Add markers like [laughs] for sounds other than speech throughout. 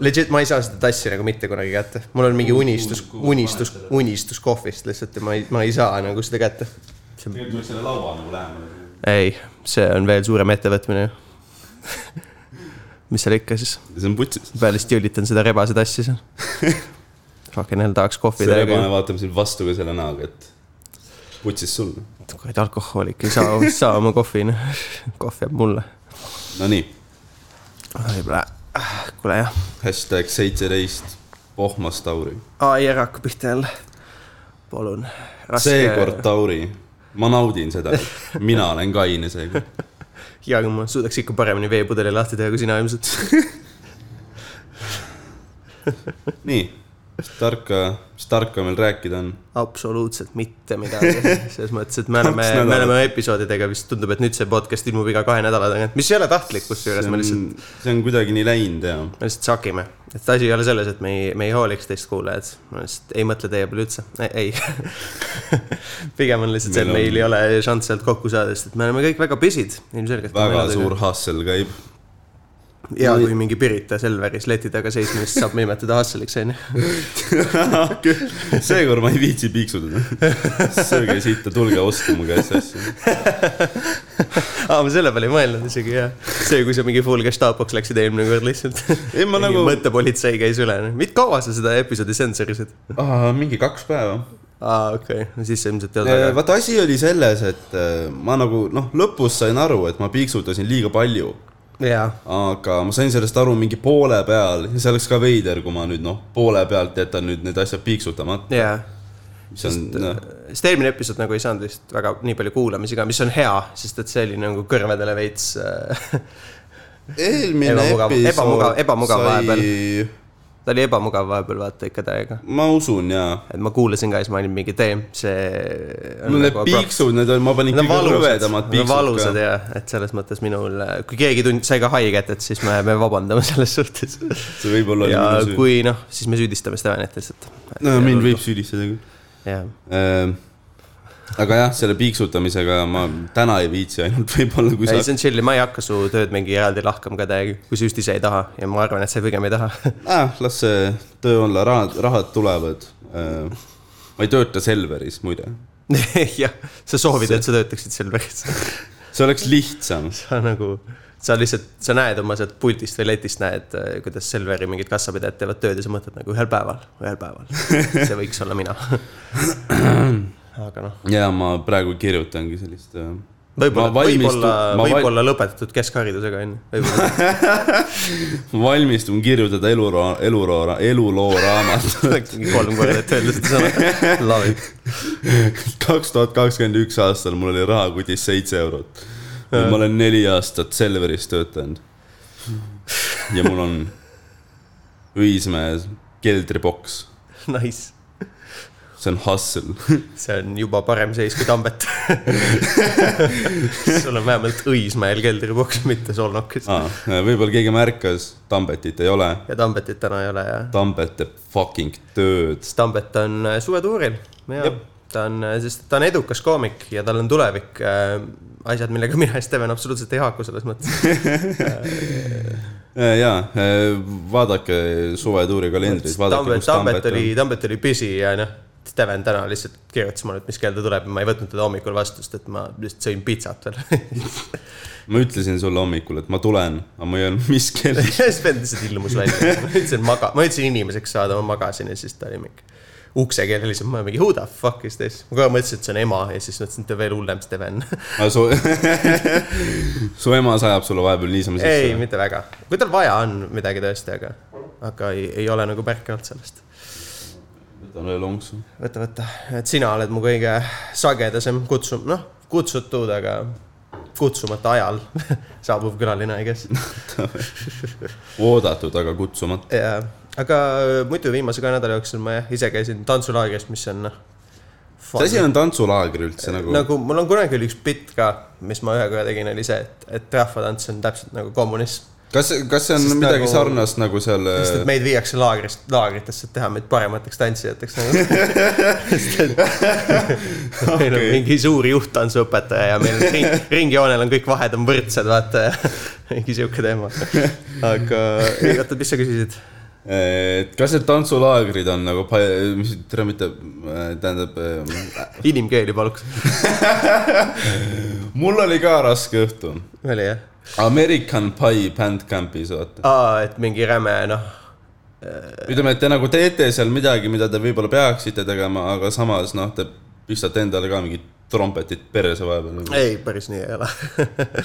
legit , ma ei saa seda tassi nagu mitte kunagi kätte . mul on mingi unistus , unistus , unistus kohvist lihtsalt ja ma ei , ma ei saa nagu seda kätte . tegelikult tuleks selle laua nagu lähemale . ei , see on veel suurem ettevõtmine ju . mis seal ikka siis , see on putsis . peale siis tüülitan seda rebase tassi seal . Fucking hell , tahaks kohvi see täiega rebane vaatab sind vastu ka selle näoga , et putsis sul . ju . kuradi alkohoolik ei saa , ei saa oma kohvi , noh . kohv jääb mulle . Nonii , Ah, võib-olla , kuule jah . hashtag seitseteist , pohmas Tauri . ai , ära hakka pihta jälle . palun . seekord . Tauri , ma naudin seda , et mina olen kaine seekord . hea , kui ma suudaks ikka paremini veepudeli lahti teha kui sina ilmselt . nii , mis tarka , mis tarka meil rääkida on ? absoluutselt mitte [laughs] midagi . selles mõttes , et me oleme Kaks , nädalat. me oleme episoodidega vist tundub , et nüüd see podcast ilmub iga kahe nädala tagant , mis ei ole tahtlik see kusjuures , me on lihtsalt ,, see on kuidagi nii läinud ja me lihtsalt sakime . et asi ei ole selles , et me ei , me ei hooliks teist kuulajad , ma lihtsalt ei mõtle teie peale üldse , ei . [laughs] pigem on lihtsalt see , et Meil on- meil ei ole šanss sealt kokku saada , sest et me oleme kõik väga busy'd ilmselgelt . väga suur . hustle käib . [laughs] ja No- kui mingi Pirita Selveris leti taga seismist saab nimetada hustle'iks , onju . seekord ma ei viitsi piiksutada . sööge siit ja tulge ostke mu käest asju . aa , ma selle peale ei mõelnud isegi , jah . see , kui sa mingi full gestaapoks läksid eelmine kord lihtsalt . [laughs] ei , ma nagu , mõttepolitsei käis üle , mitte kaua sa seda episoodi tsensorisid ? mingi kaks päeva aa , okei okay. , siis sa ilmselt ei olnud Eh, väga . vaata , asi oli selles , et eh, ma nagu noh , lõpus sain aru , et ma piiksutasin liiga palju , jaa , aga ma sain sellest aru mingi poole peal ja see oleks ka veider , kui ma nüüd noh , poole pealt jätan nüüd need asjad piiksutamata , jaa . mis on noh , sest eelmine episood nagu ei saanud vist väga nii palju kuulamisi ka , mis on hea , sest et see oli nagu kõrvedele veits äh, , [laughs] eelmine Ebamugav- episood ebamugav- ebamugav sai , ta oli ebamugav vahepeal vaata ikka täiega . ma usun jaa . et ma kuulasin ka ja siis ma olin mingi tee , see . no need piiksud , need on , ma panin Nagu Need on kõige valusad , rõvedamad need on piiksud valusad ka . ja , et selles mõttes minul , kui keegi tund- , sai ka haiget , et siis me , me vabandame [laughs] selles suhtes . see võib-olla ja oli minu süü . kui noh , siis me süüdistame Stevenit lihtsalt . no mind võib süüdistada küll . jah , aga jah , selle piiksutamisega ma täna ei viitsi ainult [laughs] võib-olla , kui ei sa see on chill , ma ei hakka su tööd mingi eraldi lahkama ka täiega , kui sa just ise ei taha ja ma arvan , et sa pigem ei taha . [laughs] ah, . las see töö olla , rahad , rahad tulevad . ma ei tööta Selveris muide , jah , sa soovid , et sa töötaksid seal [laughs] päris . see oleks lihtsam . sa nagu , sa lihtsalt , sa näed oma sealt pultist või letist näed , kuidas Selveri mingid kassapidajad teevad tööd ja sa mõtled nagu ühel päeval , ühel [laughs] päeval . see võiks olla [clears throat] mina . aga noh , ja ma praegu kirjutangi sellist . äh, võib-olla , võib-olla , võib-olla . võib-olla lõpetatud keskharidusega onju , võib-olla . valmistun kirjutada eluroo , eluroo , eluloo raamatut . [laughs] kolm korda , et öelda seda sõna . [laughs] Love it . kaks tuhat kakskümmend üks aastal mul oli rahakutis seitse eurot . ma olen neli aastat Selveris töötanud . ja mul on Õismäe keldriboks , Nice . see on hustle . see on juba parem seis kui Tambet . sul on vähemalt Õismäel keldriboks , mitte Solnokis . ah, . võib-olla keegi märkas , Tambetit ei ole . ja Tambetit täna ei ole ja . Tambet teeb fucking tööd . sest Tambet on äh, suvetuuril ja Jep. ta on , sest ta on edukas koomik ja tal on tulevik . asjad , millega mina ja Steven absoluutselt ei haaku selles mõttes . ja , Äh, vaadake suvetuuri kalendrit , vaadake , Tambet , kus Tambet, Tambet oli , Tambet oli busy ja noh , Steven täna lihtsalt kirjutas mulle , et mis kell ta tuleb ja ma ei võtnud teda hommikul vastu , sest et ma lihtsalt sõin pitsat veel . [laughs] on . ma ütlesin sulle hommikul , et ma tulen , aga ma ei öelnud , mis kell . Sven lihtsalt ilmus välja , ma ütlesin maga , ma ütlesin inimeseks saada , ma magasin ja siis ta oli mingi uksekeel oli lihtsalt , ma mingi who the fuck is this , ma kohe mõtlesin , et see on ema ja siis mõtlesin , et ta on veel hullem Steven . Su, [laughs] su ema sajab sulle vahepeal niisama ei , sisse . mitte väga , kui tal vaja on midagi tõesti , aga , aga ei, ei ole nagu märke olnud sellest . võtan veel lonksu . võta , võta , et sina oled mu kõige sagedasem kutsum- , noh , kutsutud , aga kutsumata ajal [laughs] saabuv külaline , I guess . oodatud , aga kutsumata . jaa , aga muidu viimase kahe nädala jooksul ma jah ise käisin tantsulaagris , mis on noh . mis asi on nagu- tantsulaagri üldse nagu, nagu... ? nagu mul on kunagi oli üks bitt ka , mis ma ühe korra tegin , oli see , et , et rahvatants on täpselt nagu kommunism . kas , kas see on Sest Sest midagi nagu- nagu... sarnast nagu seal ? sest et meid viiakse laagrist , laagritesse , et teha meid paremateks tantsijateks [laughs] nagu. . [laughs] meil on Okei. mingi suur juht tantsuõpetaja ja meil on [laughs] ring, ringjoonel on kõik vahed [laughs] on võrdsed , vaata ja mingi sihuke teema . aga , ei oota , mis sa küsisid ? et kas need tantsulaagrid on nagu , mis , tere , mitte , tähendab , äh, inimkeeli paluks . mul oli ka raske õhtu . oli jah ? American Pie Bandcampis , vaata . aa , et mingi räme , noh , ütleme , et te nagu teete seal midagi , mida te võib-olla peaksite tegema , aga samas noh , te pistate endale ka mingit trompetit perse vahepeal nagu. . ei , päris nii ei ole .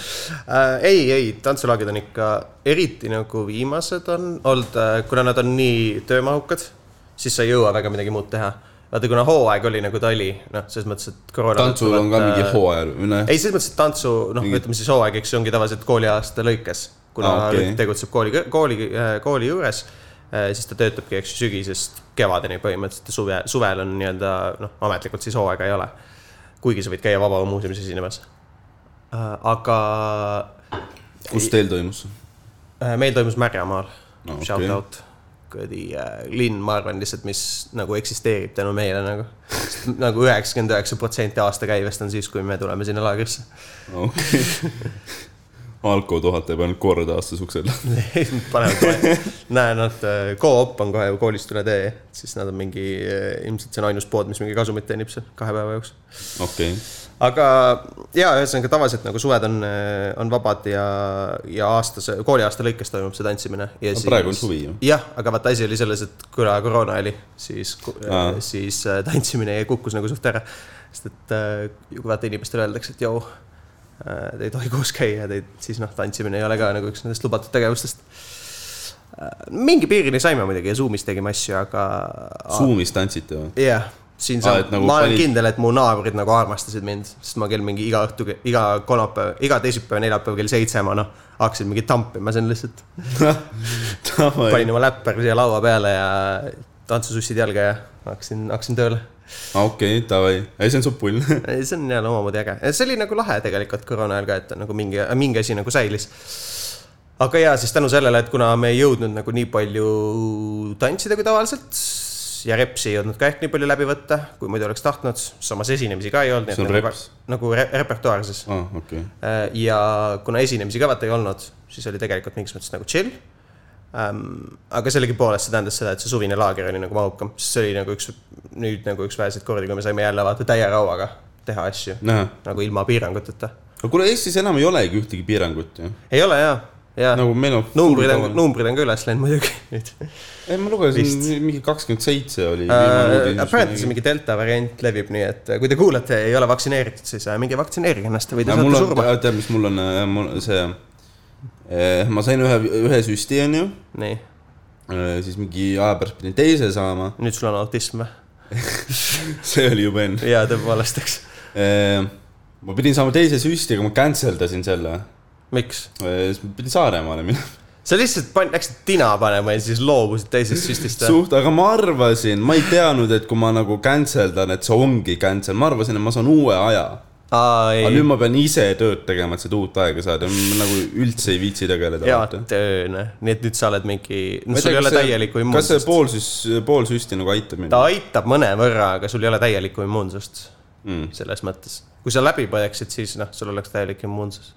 [laughs] ei , ei , tantsulaagrid on ikka eriti nagu viimased on olnud , kuna nad on nii töömahukad , siis sa ei jõua väga midagi muud teha . vaata , kuna hooaeg oli nagu ta oli , noh , selles mõttes , et äh, koroona . tantsul on ka mingi hooajal või noh , ei , selles mõttes , et tantsu , noh , Mingi- ütleme siis hooaeg , eks ju , ongi tavaliselt kooliaasta lõikes . kuna Aa, ah, okei. okay. tegutseb kooli , kooli , kooli juures , siis ta töötabki , eks ju , sügisest kevadeni põhimõtteliselt ja suve , suvel on nii-öelda noh , ametlikult siis hooaega ei ole . kuigi sa võid käia Vabaõhu muuseumis esinemas . aga kus teil toimus ? äh, meil toimus Märjamaal Aa, no, , okei. shout out kuradi äh, linn , ma arvan lihtsalt , mis nagu eksisteerib tänu meile nagu . nagu üheksakümmend üheksa protsenti aastakäivest on siis , kui me tuleme sinna laagrisse . okei okay. . Alko tuhat teeb ainult kord aastas ukse alla . [laughs] panevad kohe , näe nad , Coop on kohe ju koolist üle tee , siis nad on mingi , ilmselt see on ainus pood , mis mingi kasumit teenib seal kahe päeva jooksul . okei okay. , aga ja ühesõnaga tavaliselt nagu suved on , on vabad ja , ja aastase , kooliaasta lõikes toimub see tantsimine . praegu on suvi ju. . jah , aga vaata asi oli selles , et kuna koroona oli , siis , Aa. siis äh, tantsimine kukkus nagu suht ära . sest et äh, ju vaata inimestele öeldakse , et jõu , te ei tohi koos käia , te ei , siis noh , tantsimine ei ole ka nagu üks nendest lubatud tegevustest . mingi piirini saime muidugi ja Zoom'is tegime asju , aga . Zoomis tantsite või ? [laughs] jah , siin Aa, saab et , nagu ma olen panid- kindel , et mu naabrid nagu armastasid mind , sest ma kell mingi iga õhtu , iga kolmapäev , iga teisipäev , neljapäev kell seitse ma noh , hakkasin mingi tampima siin lihtsalt . panin oma läppari siia laua peale ja tantsusussid jalga ja hakkasin , hakkasin tööle . okei , davai , ei see on su pull . [laughs] see on jälle omamoodi äge , see oli nagu lahe tegelikult koroona ajal ka , et nagu mingi , mingi asi nagu säilis . aga ja siis tänu sellele , et kuna me ei jõudnud nagu nii palju tantsida kui tavaliselt ja repsi ei jõudnud ka ehk nii palju läbi võtta , kui muidu oleks tahtnud , samas esinemisi ka ei olnud . See on reps. nagu re repertuaar siis . aa , Ah, okei . Äh, ja kuna esinemisi ka vaata ei olnud , siis oli tegelikult mingis mõttes nagu chill . aga sellegipoolest see tähendas seda , et see suvine laager oli nagu mahukam , sest see oli nagu üks , nüüd nagu üks väheseid kordi , kui me saime jälle vaata täie rauaga teha asju näha , nagu ilma piiranguteta . aga kuule Eestis enam ei olegi ühtegi piirangut ju . ei ole ja , ja no, nagu meil on . numbrid on , numbrid on ka üles läinud [laughs] muidugi nüüd . ei , ma lugesin , mingi kakskümmend seitse oli . Äh, Apparently see mingi delta variant levib , nii et äh, kui te kuulate , ei ole vaktsineeritud , siis äh, minge vaktsineerige ennast või te aga mul saate on , surma . tead , mis mul on , mul see , ma sain ühe , ühe süsti , onju , nii , siis mingi aja pärast pidin teise saama , [laughs] nüüd sul on autism või ? see oli juba enne . jaa , tõepoolest , eks . ma pidin saama teise süsti , aga ma cancel dasin selle , miks ? siis ma pidin Saaremaale [laughs] minema . [laughs] sa lihtsalt pan- , läksid tina panema ja siis loobusid teisest süstist või ? suht , aga ma arvasin , ma ei teadnud , et kui ma nagu cancel dan , et see ongi cancel , ma arvasin , et ma saan uue aja . aa , aga ei nüüd . ma pean ise tööd tegema , et seda uut aega saada , ma nagu üldse ei viitsi tegeleda . head tööne , noh. nii et nüüd sa oled mingi , no sul ei ole täielikku kas see immuunsust . pool siis , pool süsti nagu aitab mind ? ta aitab mõnevõrra , aga sul ei ole täielikku immuunsust mm. . selles mõttes , kui sa läbi põeksid , siis noh , sul oleks täielik immuunsus .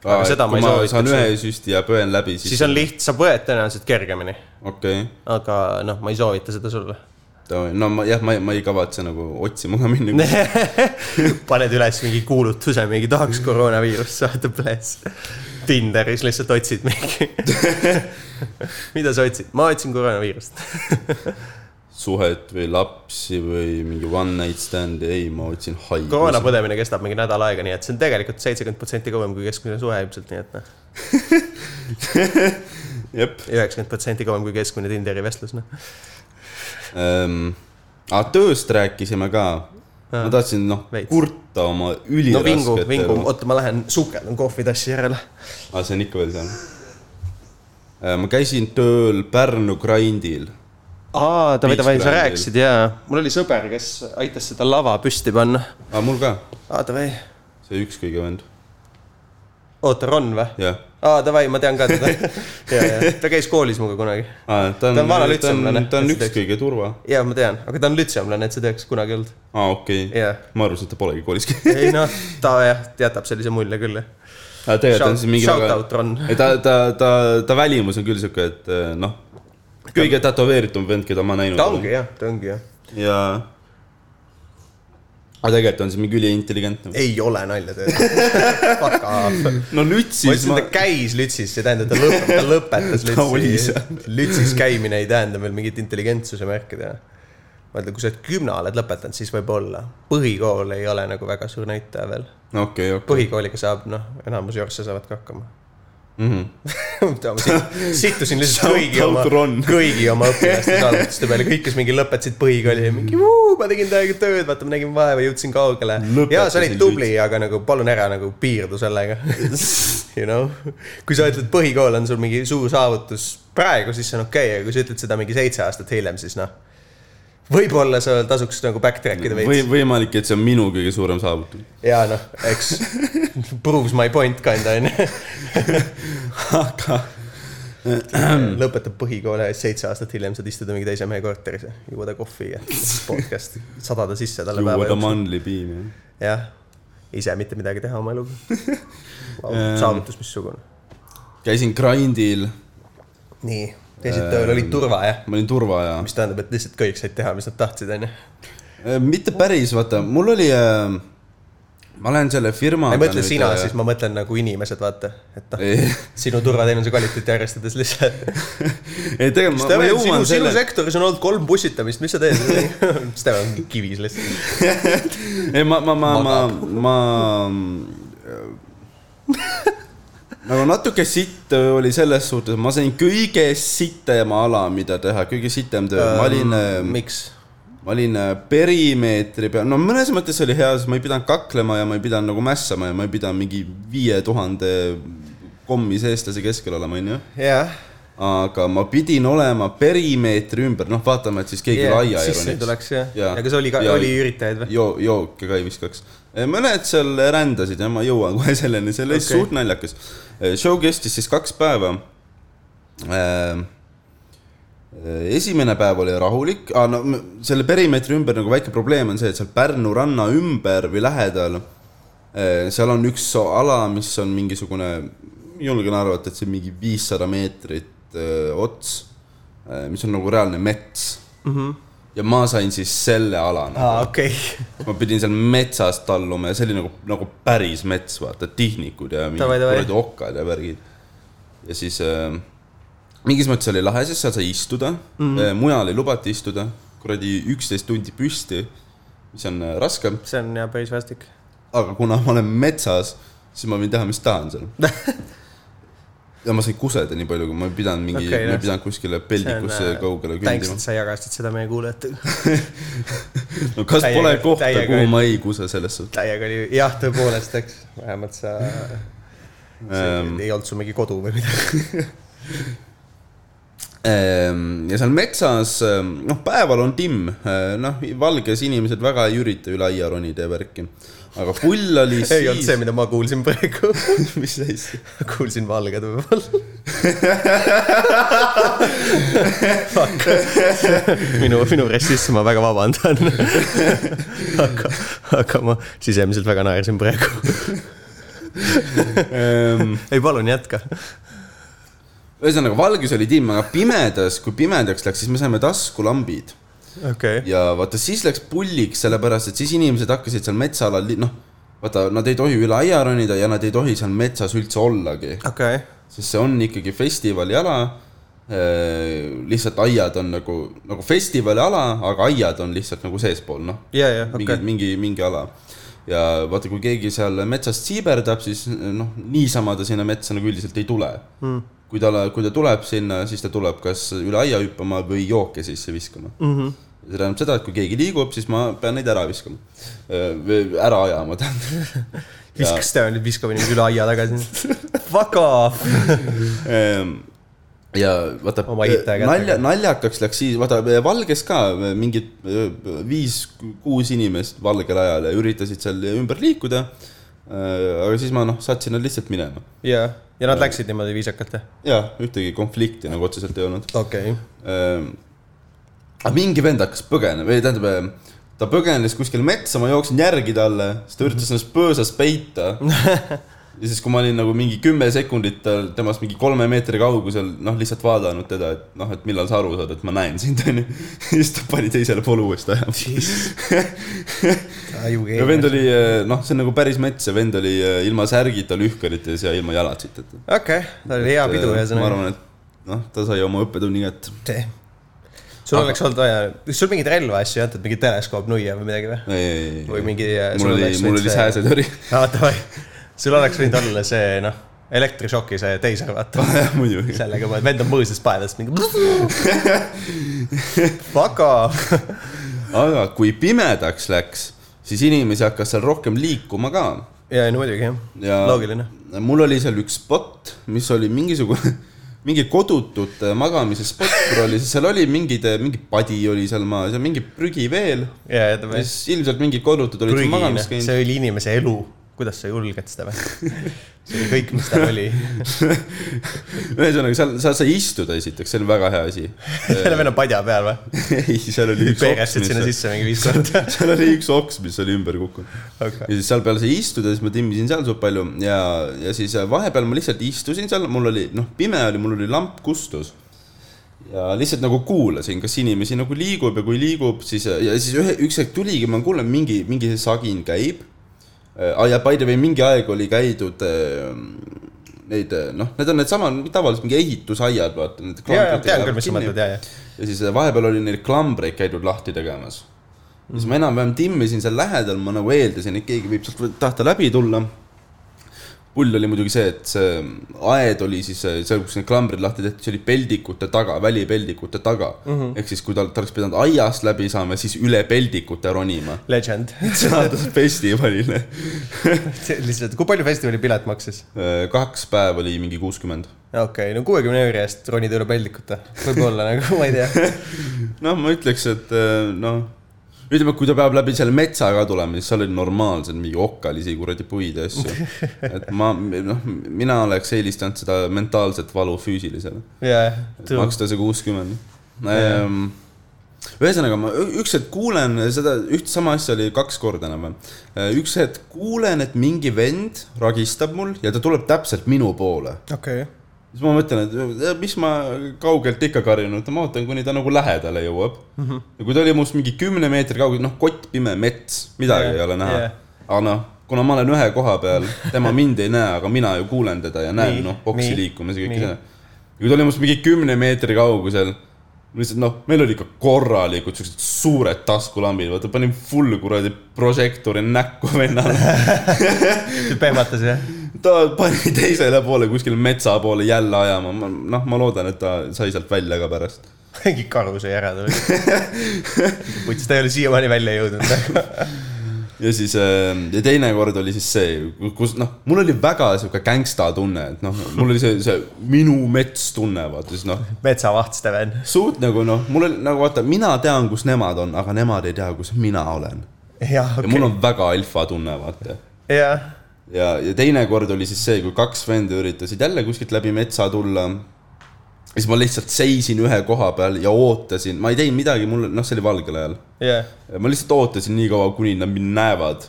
aga seda ma kui ei ma soovitaks saan ühe süsti ja põen läbi , siis, siis on liht- , sa põed tõenäoliselt kergemini , okei okay. , aga noh , ma ei soovita seda sulle . no ma jah , ma ei , ma ei kavatse nagu otsima ka minna . [laughs] paned üles mingi kuulutuse , mingi tahaks koroonaviirust saada , plees . Tinderis lihtsalt otsid mingi . [laughs] mida sa otsid ? ma otsin koroonaviirust . suhet või lapsi või mingi one night stand'i , ei , ma otsin haigust koroona . põdemine kestab mingi nädal aega , nii et see on tegelikult seitsekümmend protsenti kauem kui keskmine suhe ilmselt , nii et noh , jep . üheksakümmend protsenti kauem kui keskmine Tinderi vestlus , noh . ähm, . aga tööst rääkisime ka . ma tahtsin , noh , Veits. kurta oma no vingu , ülirasket vingu , elu. oota , ma lähen sukeldun kohvitassi järele . aga see on ikka veel seal . ma käisin tööl Pärnu Grindil . aa , davai , davai , sa Beachgrindil. rääkisid jaa . mul oli sõber , kes aitas seda lava püsti panna . aga mul ka , aa , davai . see üks kõige vend , oota , Ron või ? jah . aa , davai , ma tean ka [laughs] teda . ja , ja ta käis koolis minuga kunagi . ta on , Ta on vana ta on lütseumlane. , ta on üks kõige turva . jaa , ma tean , aga ta on lütseumlane , et see tööks kunagi olnud . aa , okei okay. [laughs] jaa . ma arvasin , et ta polegi koolis [laughs] käinud . ei noh , ta jah , jätab sellise mulje küll , jah . aga tegelikult on siis mingi [laughs] Shout väga , out Ron . ei ta , ta , ta , ta välimus on küll sihuke , et eh, noh , kõige tätoveeritum vend , keda ma näinud ta ongi jah , ta ongi jah . ja . aga tegelikult on see mingi üliintelligentne . ei ole nalja teha . [laughs] Fuck off . ma no nüüd siis ütlesin , ma ta , käis lütsis , see tähendab , ta lõp- , ta [laughs] lõpetas Ta oli lütsi seal. . lütsis käimine ei tähenda veel mingit intelligentsuse märki teha . ma ütlen , kui sa oled gümna oled lõpetanud , siis võib-olla . põhikool ei ole nagu väga suur näitaja veel . okei , okei . põhikooliga saab , noh , enamus jorsse saavad ka hakkama [laughs] ma Ta- ma [laughs] sit- sittusin lihtsalt kõigi Mhm. Shout out oma Ron. , [laughs] kõigi oma õpilaste [laughs] saavutuste peale , kõik , kes mingi lõpetasid põhikooli ja mingi "Vuu, ma tegin täiega tööd , vaata , ma nägin vaeva , jõudsin kaugele . ja sa olid Lõpetasin tubli , aga nagu palun ära nagu piirdu sellega . [laughs] You know , kui sa ütled , põhikool on sul mingi suur saavutus praegu , siis see on okei okay, , aga kui sa ütled seda mingi seitse aastat hiljem , siis noh . võib-olla seal tasuks nagu back track ida või veits võimalik , et see on minu kõige suurem saavutus . ja noh , eks [laughs] proves my point kind onju . aga lõpetab põhikooli ja siis seitse aastat hiljem saad istuda mingi teise mehe korteris ja juua ta kohvi ja [laughs] podcast , sadada sisse talle päeva juua ta jooksul . mandli piimi . jah , ise mitte midagi teha oma eluga wow, . saavutus missugune . käisin grindil , nii , teised tööl olid turva jah , ma olin turvaaja . mis tähendab , et lihtsalt kõik said teha , mis nad tahtsid , onju . Äh, mitte päris , vaata , mul oli äh, , ma olen selle firma . ma ei mõtle sina , siis ma mõtlen nagu inimesed , vaata , et noh , sinu turvateenuse kvaliteeti arvestades lihtsalt . äh, [laughs] ei tegelikult ma, ma Steven , sinu , jõuan sinu selle , sektoris on olnud kolm pussitamist , mis sa [laughs] teed ? Steven on kivis lihtsalt . ei ma , ma , ma , ma , ma . nagu natuke sitt oli selles suhtes , ma sain kõige sitema ala , mida teha , kõige sitem töö , ma olin ähm, , miks ? ma olin äh, perimeetri peal , no mõnes mõttes oli hea , sest ma ei pidanud kaklema ja ma ei pidanud nagu mässama ja ma ei pidanud mingi viie tuhande kommis eestlase keskel olema , onju . jah aga ma pidin olema perimeetri ümber , noh , vaatame , et siis keegi Jaa, yeah, laia ei sisse ei tuleks jah ja. Jaa. , aga see oli ka , Jaa. oli üritajaid või ? [laughs] joo , jooke ka ei viskaks . mõned seal rändasid ja ma jõuan kohe selleni , see oli okay. Okei. suht naljakas . show kestis siis kaks päeva . eh, esimene päev oli rahulik ah, , no m- selle perimeetri ümber nagu väike probleem on see , et seal Pärnu ranna ümber või lähedal , seal on üks ala , mis on mingisugune , julgen arvata , et see on mingi viissada meetrit eh, ots , mis on nagu reaalne mets mm . -hmm. ja ma sain siis selle ala nagu Mhm. aa , okei . [laughs] ma pidin seal metsas talluma ja see oli nagu , nagu päris mets , vaata , tihnikud ja mingid Davai, davai. kuradi okkad ja värgid . ja siis äh, mingis mõttes oli lahe , sest seal sai istuda Mhm. mm , -hmm. mujal ei lubata istuda , kuradi üksteist tundi püsti , mis on äh, raske , see on jah päris vastik . aga kuna ma olen metsas , siis ma võin teha , mis tahan [laughs] seal . ja ma sain kuseda nii palju , kui ma ei pidanud mingi Okei, okay, , ma jah. äh, ei pidanud kuskile peldikusse kaugele thanks , kündima [laughs] et . sa jagasid seda meie kuulajatega . no kas täiega- pole kohta , täiega kuhu oli- ma ei kuse selles suhtes ? [laughs] täiega oli , jah , tõepoolest , eks , vähemalt sa , Ähm. ei olnud sul mingi kodu või midagi . Ehm, ja seal metsas , noh , päeval on timm , noh , valges inimesed väga ei ürita üle aia ronida ja värki . aga pull oli [laughs] ei olnud siis see ,, mida ma kuulsin [laughs] praegu . mis seis . kuulsin valged võib-olla . minu , minu rassism , ma väga vabandan . aga , aga ma sisemiselt väga naersin praegu . ei , palun jätka . ehm, ühesõnaga , valges oli timm , aga pimedas , kui pimedaks läks , siis me saime taskulambid okei okay. . ja vaata , siis läks pulliks , sellepärast et siis inimesed hakkasid seal metsaalal , noh , vaata , nad ei tohi üle aia ronida ja nad ei tohi seal metsas üldse ollagi . okei okay. , sest see on ikkagi festivali ala . lihtsalt aiad on nagu , nagu festivali ala , aga aiad on lihtsalt nagu seespool , noh . ja , ja , mingi okei , okay. mingi , mingi ala . ja vaata , kui keegi seal metsast siiberdab , siis noh , niisama ta sinna metsa nagu üldiselt ei tule mm. . kui ta , kui ta tuleb sinna , siis ta tuleb kas üle aia hüppama või jooke sisse viskama mm . -hmm see tähendab seda , et kui keegi liigub , siis ma pean neid ära viskama . või ära ajama , tähendab . viskas Steven nüüd viskab inimesi üle aia tagasi . Fuck off . Ehm, ja vaata Oma ehitaja , nalja , kätega. naljakaks läks siis , vaata Valges ka mingid öö, viis-kuus inimest valgel ajal ja üritasid seal ümber liikuda . aga siis ma noh , saatsin nad lihtsalt minema ja , ja nad läksid niimoodi viisakalt , jah ? ja ühtegi konflikti nagu otseselt ei olnud . okei okay. . Ehm, aga mingi vend hakkas põgenema , või tähendab , ehm, [laughs] ta põgenes kuskil metsa , ma jooksin järgi talle , siis ta üritas ennast põõsas peita . ja siis , kui ma olin nagu mingi kümme sekundit tal- temast mingi kolme meetri kaugusel , noh , lihtsalt vaadanud teda , et noh , et millal sa aru saad , et ma näen sind , [laughs] onju . siis ta pani teisele poole uuesti ajama . [laughs] ja vend oli , noh , see on nagu päris mets ja vend oli eh, ilma särgita lühkarites ja ilma jalatsiteta . okei , tal oli hea pidu ma ühesõnaga . arvan , et noh , ta sai oma õppetunni kätte . sul oleks olnud vaja , kas sul mingeid relvaasju ei antud , mingi teleskoop nuia või midagi või ? ei , ei , ei , või mingi . äh, mul oli , mul oli . [laughs] sääsetõri . aa , davai . sul oleks võinud olla see , noh , elektrišoki see teiser , vaata . [laughs] muidugi . sellega ma , vend on mõõsas paelast mingi . Vaga . aga kui pimedaks läks , siis inimesi hakkas seal rohkem liikuma ka . ja , ei no muidugi jah ja ja... , loogiline . mul oli seal üks spot , mis oli mingisugune , [laughs] mingi kodutute magamise spot , mul oli , seal oli mingid , mingi padi oli seal maas ja mingi prügi veel . ja , ja ta ja siis ilmselt mingid kodutud olid seal prügine , magamas käinud . see oli inimese elu , kuidas sa julged seda või ? see oli kõik , mis tal oli . [laughs] ühesõnaga , seal , seal sai istuda esiteks , see on väga hea [laughs] asi . selle venna padja peal või ? ei , seal oli üks oks , peerestasid mis sinna oli , sisse mingi viis korda . [laughs] seal oli üks oks , mis oli ümber kukkunud . okei , ja siis seal peal sai istuda , siis ma timmisin seal suht palju ja , ja siis äh, vahepeal ma lihtsalt istusin seal , mul oli noh , pime oli , mul oli lamp kustus . ja lihtsalt nagu kuulasin , kas inimesi nagu liigub ja kui liigub , siis äh, ja siis ühe , üks hetk tuligi , ma kuulen mingi , mingi sagin käib . ja by the way , mingi aeg oli käidud äh, neid äh, noh , need on needsamad tavaliselt mingi ehitusaiad , vaata . ja , ja tean küll , mis sa mõtled , ja , ja . ja siis vahepeal oli neil klambreid käidud lahti tegemas . siis ma enam-vähem timmisin seal lähedal , ma nagu eeldasin , et keegi võib sealt tahta läbi tulla . pull oli muidugi see , et see aed oli siis see- seal , kus need klambrid lahti tehti , see oli peldikute taga , välipeldikute taga mm -hmm. . ehk siis , kui ta, ta oleks pidanud aiast läbi saama , siis üle peldikute ronima . [laughs] Legend . saadus festivalile . lihtsalt , kui palju festivali pilet maksis ? kaks päeva oli mingi kuuskümmend . okei okay, , no kuuekümne euri eest ronid üle peldikute . võib-olla nagu , ma ei tea . noh , ma ütleks , et eh, noh , ütleme , kui ta peab läbi selle metsa ka tulema , siis seal oli normaalselt mingi okkalisi kuradi puid ja asju . et ma , noh , mina oleks eelistanud seda mentaalset valu füüsilisele . ja , ja . maksta see kuuskümmend . ühesõnaga , ma ü- üks hetk kuulen seda , üht sama asja oli kaks korda enam-vähem . üks hetk kuulen , et mingi vend ragistab mul ja ta tuleb täpselt minu poole okei , siis ma mõtlen , et eh, mis ma kaugelt ikka karjunud , ma ootan , kuni ta nagu lähedale jõuab mm . -hmm. ja kui ta oli must mingi kümne meetri kaugel , noh , kottpime mets , midagi Jah, yeah. ei ole näha jah. yeah. . aga noh , kuna ma olen ühe koha peal , tema mind ei näe , aga mina ju kuulen teda ja näen Nii, , noh , boksi nii, liikumise nii. kõike seda . ja kui ta oli must mingi kümne meetri kaugusel , lihtsalt noh , meil oli ikka korralikud siuksed suured taskulambid , vaata panin full kuradi prožektori näkku vennale . pehmatas jah ? ta pani [laughs] teisele poole kuskil metsa poole jälle ajama , ma noh , ma loodan , et ta sai sealt välja ka pärast . mingi karu sai ära tulnud . putsis , ta ei ole siiamaani välja jõudnud . noh. ja siis äh, ja teine kord oli siis see , kus noh , mul oli väga sihuke gängsta tunne , et noh , mul oli see , see minu mets tunne , vaata siis noh , metsavaht Steven . suht nagu noh , mul oli nagu vaata , mina tean , kus nemad on , aga nemad ei tea , kus mina olen . jah , ja mul okei , on väga alfa tunne , vaata jah . ja , ja teine kord oli siis see , kui kaks vendi üritasid jälle kuskilt läbi metsa tulla . siis ma lihtsalt seisin ühe koha peal ja ootasin , ma ei teinud midagi , mul , noh , see oli valgel ajal . jah , ma lihtsalt ootasin nii kaua , kuni nad mind näevad .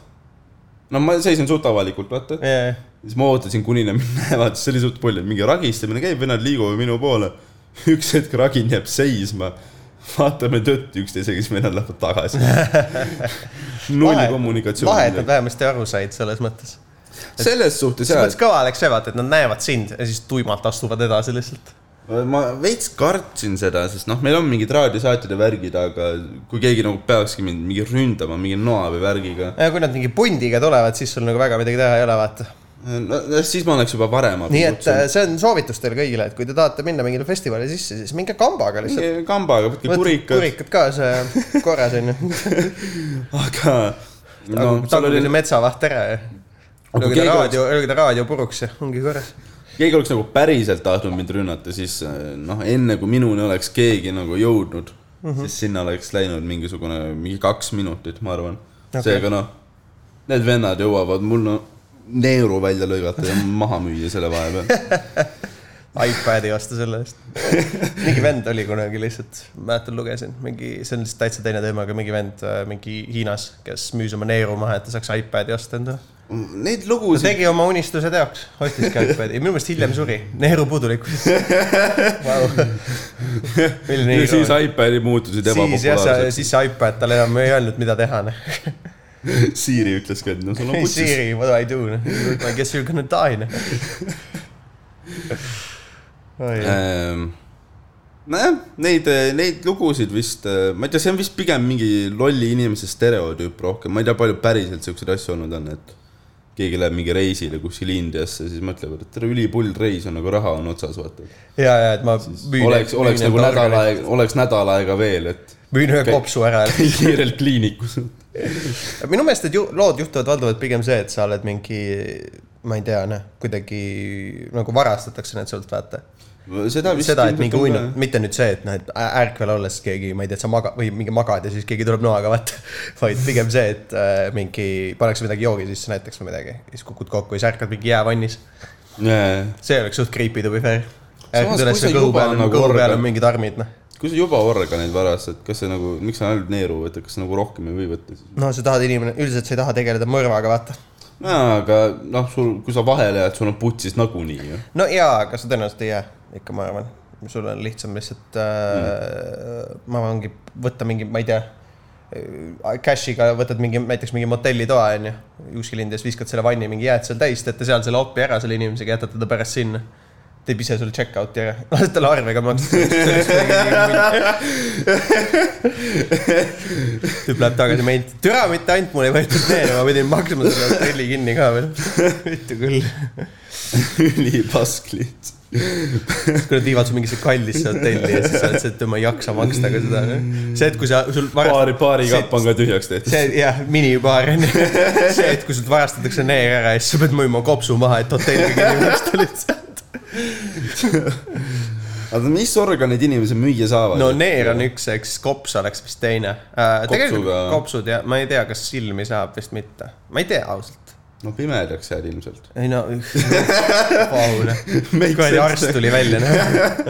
no ma seisin suht avalikult , vaata . jah . siis ma ootasin , kuni nad mind näevad , see oli suht pull , et mingi ragistamine käib ja nad liiguvad minu poole . üks hetk ragin jääb seisma . vaatame tõtt üksteisega , siis vennad lähevad tagasi . null kommunikatsiooni . vahe , et nad vähemasti aru said selles mõttes . selles suhtes selles jaa , mõttes kõva oleks see , vaata , et nad näevad sind ja siis tuimalt astuvad edasi lihtsalt . ma veits kartsin seda , sest noh , meil on mingid raadiosaatjad ja värgid , aga kui keegi nagu peakski mind mingi ründama mingi noa või värgiga ja kui nad mingi pundiga tulevad , siis sul nagu väga midagi teha ei ole , vaata . no, , siis ma oleks juba varem nii et äh, . see on soovitus teile kõigile , et kui te tahate minna mingile festivali sisse , siis minge kambaga lihtsalt . kambaga , võtke kurikad , kurikad kaasa ja korras onju . aga no seal taguge oli , see metsavaht ära ja Aga kui lööge ta keegi raadio , lööge ta raadio puruks ja ongi korras . keegi oleks nagu päriselt tahtnud mind rünnata , siis eh, noh , enne kui minuni oleks keegi nagu jõudnud mm , -hmm. siis sinna oleks läinud mingisugune , mingi kaks minutit , ma arvan okay. . seega noh , need vennad jõuavad mul no, neeru välja lõigata ja maha müüa selle vahepeal . iPad'i osta selle eest . [laughs] mingi vend oli kunagi lihtsalt , mäletan , lugesin mingi , see on lihtsalt täitsa teine teema , aga mingi vend äh, mingi Hiinas , kes müüs oma neeru maha , et ta saaks iPad'i osta endale . Neid ta lugusid tegi oma unistuse teoks , ostis Scalpedi , minu meelest hiljem suri , neeru puudulikkus wow. . milline ja siis iroonia. iPadi muutusid siis jah , ebapopulaarseks . siis see iPad talle enam ei öelnud , mida teha . noh. [laughs] Siiri ütles ka , et no sul on Hey putsis . Siri , what do I do ? noh. I guess you are gonna die . Äh. Ähm. nojah , neid , neid lugusid vist , ma ei tea , see on vist pigem mingi lolli inimese stereotüüp rohkem , ma ei tea , palju päriselt siukseid asju olnud on , et keegi läheb mingi reisile kuskil Indiasse , siis mõtleb , et tere , ülipull reis on , aga raha on otsas , vaata . ja , ja , et ma müün . oleks , oleks nagu nädal . aega , oleks nädal aega veel , et [laughs] müün ühe kopsu ära . kiirelt kliinikus . minu meelest need ju, lood juhtuvad valdavalt pigem see , et sa oled mingi , ma ei tea , noh , kuidagi nagu varastatakse need sult , vaata . seda vist . seda , et mingi uinu , mitte nüüd see , et noh , et ä- ärkvel olles keegi , ma ei tea , et sa maga- või mingi magad ja siis keegi tuleb noaga , vaata . [laughs] vaid pigem see , et äh, mingi pannakse midagi joogi sisse näiteks või midagi , siis kukud kokku ja siis ärkad mingi jäävannis . jaa , jaa . see oleks suht creepy to be fair . Samas, ärkad kui üles sa ja kõhu juba peal on , nagu kõhu peal organ- on mingid armid , noh . kui sa juba organeid varastad , kas see nagu , miks sa ainult neeru võtad , kas sa nagu rohkem ei või võtta siis ? no sa tahad inimene , üldiselt sa ei taha tegeleda mõrvaga , vaata . nojaa , aga noh , sul , kui sa vahele jääd , sul on putsis nagunii [laughs] ju . no jaa , aga sa tõenäoliselt ei jää , ikka ma arvan . sul on lihtsam lihtsalt äh, mm. , ma arvan , võtta mingi , ma ei tea , cash'iga võtad mingi , näiteks mingi motellitoa , onju . kuskil Indias viskad selle vanni , mingi jääd seal täis , teete seal selle opi ära selle inimesega , jätate ta pärast sinna . teeb ise sulle check out'i ära , [laughs] lased talle arvega maksta . tüüp läheb tagasi meid , türa mitte ainult mul ei võetud neele , ma pidin maksma selle hotelli kinni ka [laughs] veel . mitte küll ülipask lihtsalt . kuule , viivad su mingisse kallisse hotelli ja siis sa oled see , et ma ei jaksa maksta ka seda . see , et kui sa , sul paari , paari see- kapp on ka tühjaks tehtud . see jah , minibaar on ju . see , et kui sult varastatakse neer ära ja siis sa pead müüma kopsu maha , et hotelli kinni maksta lihtsalt . aga mis organeid inimesed müüa saavad ? no neer on . üks , eks kops oleks vist teine äh, . tegelikult Kopsuga- kopsud ja ma ei tea , kas silmi saab vist mitte , ma ei tea ausalt . no pimedaks jääd ilmselt . [laughs] ei no , [laughs] Paul Make kuradi sense. arst tuli välja , noh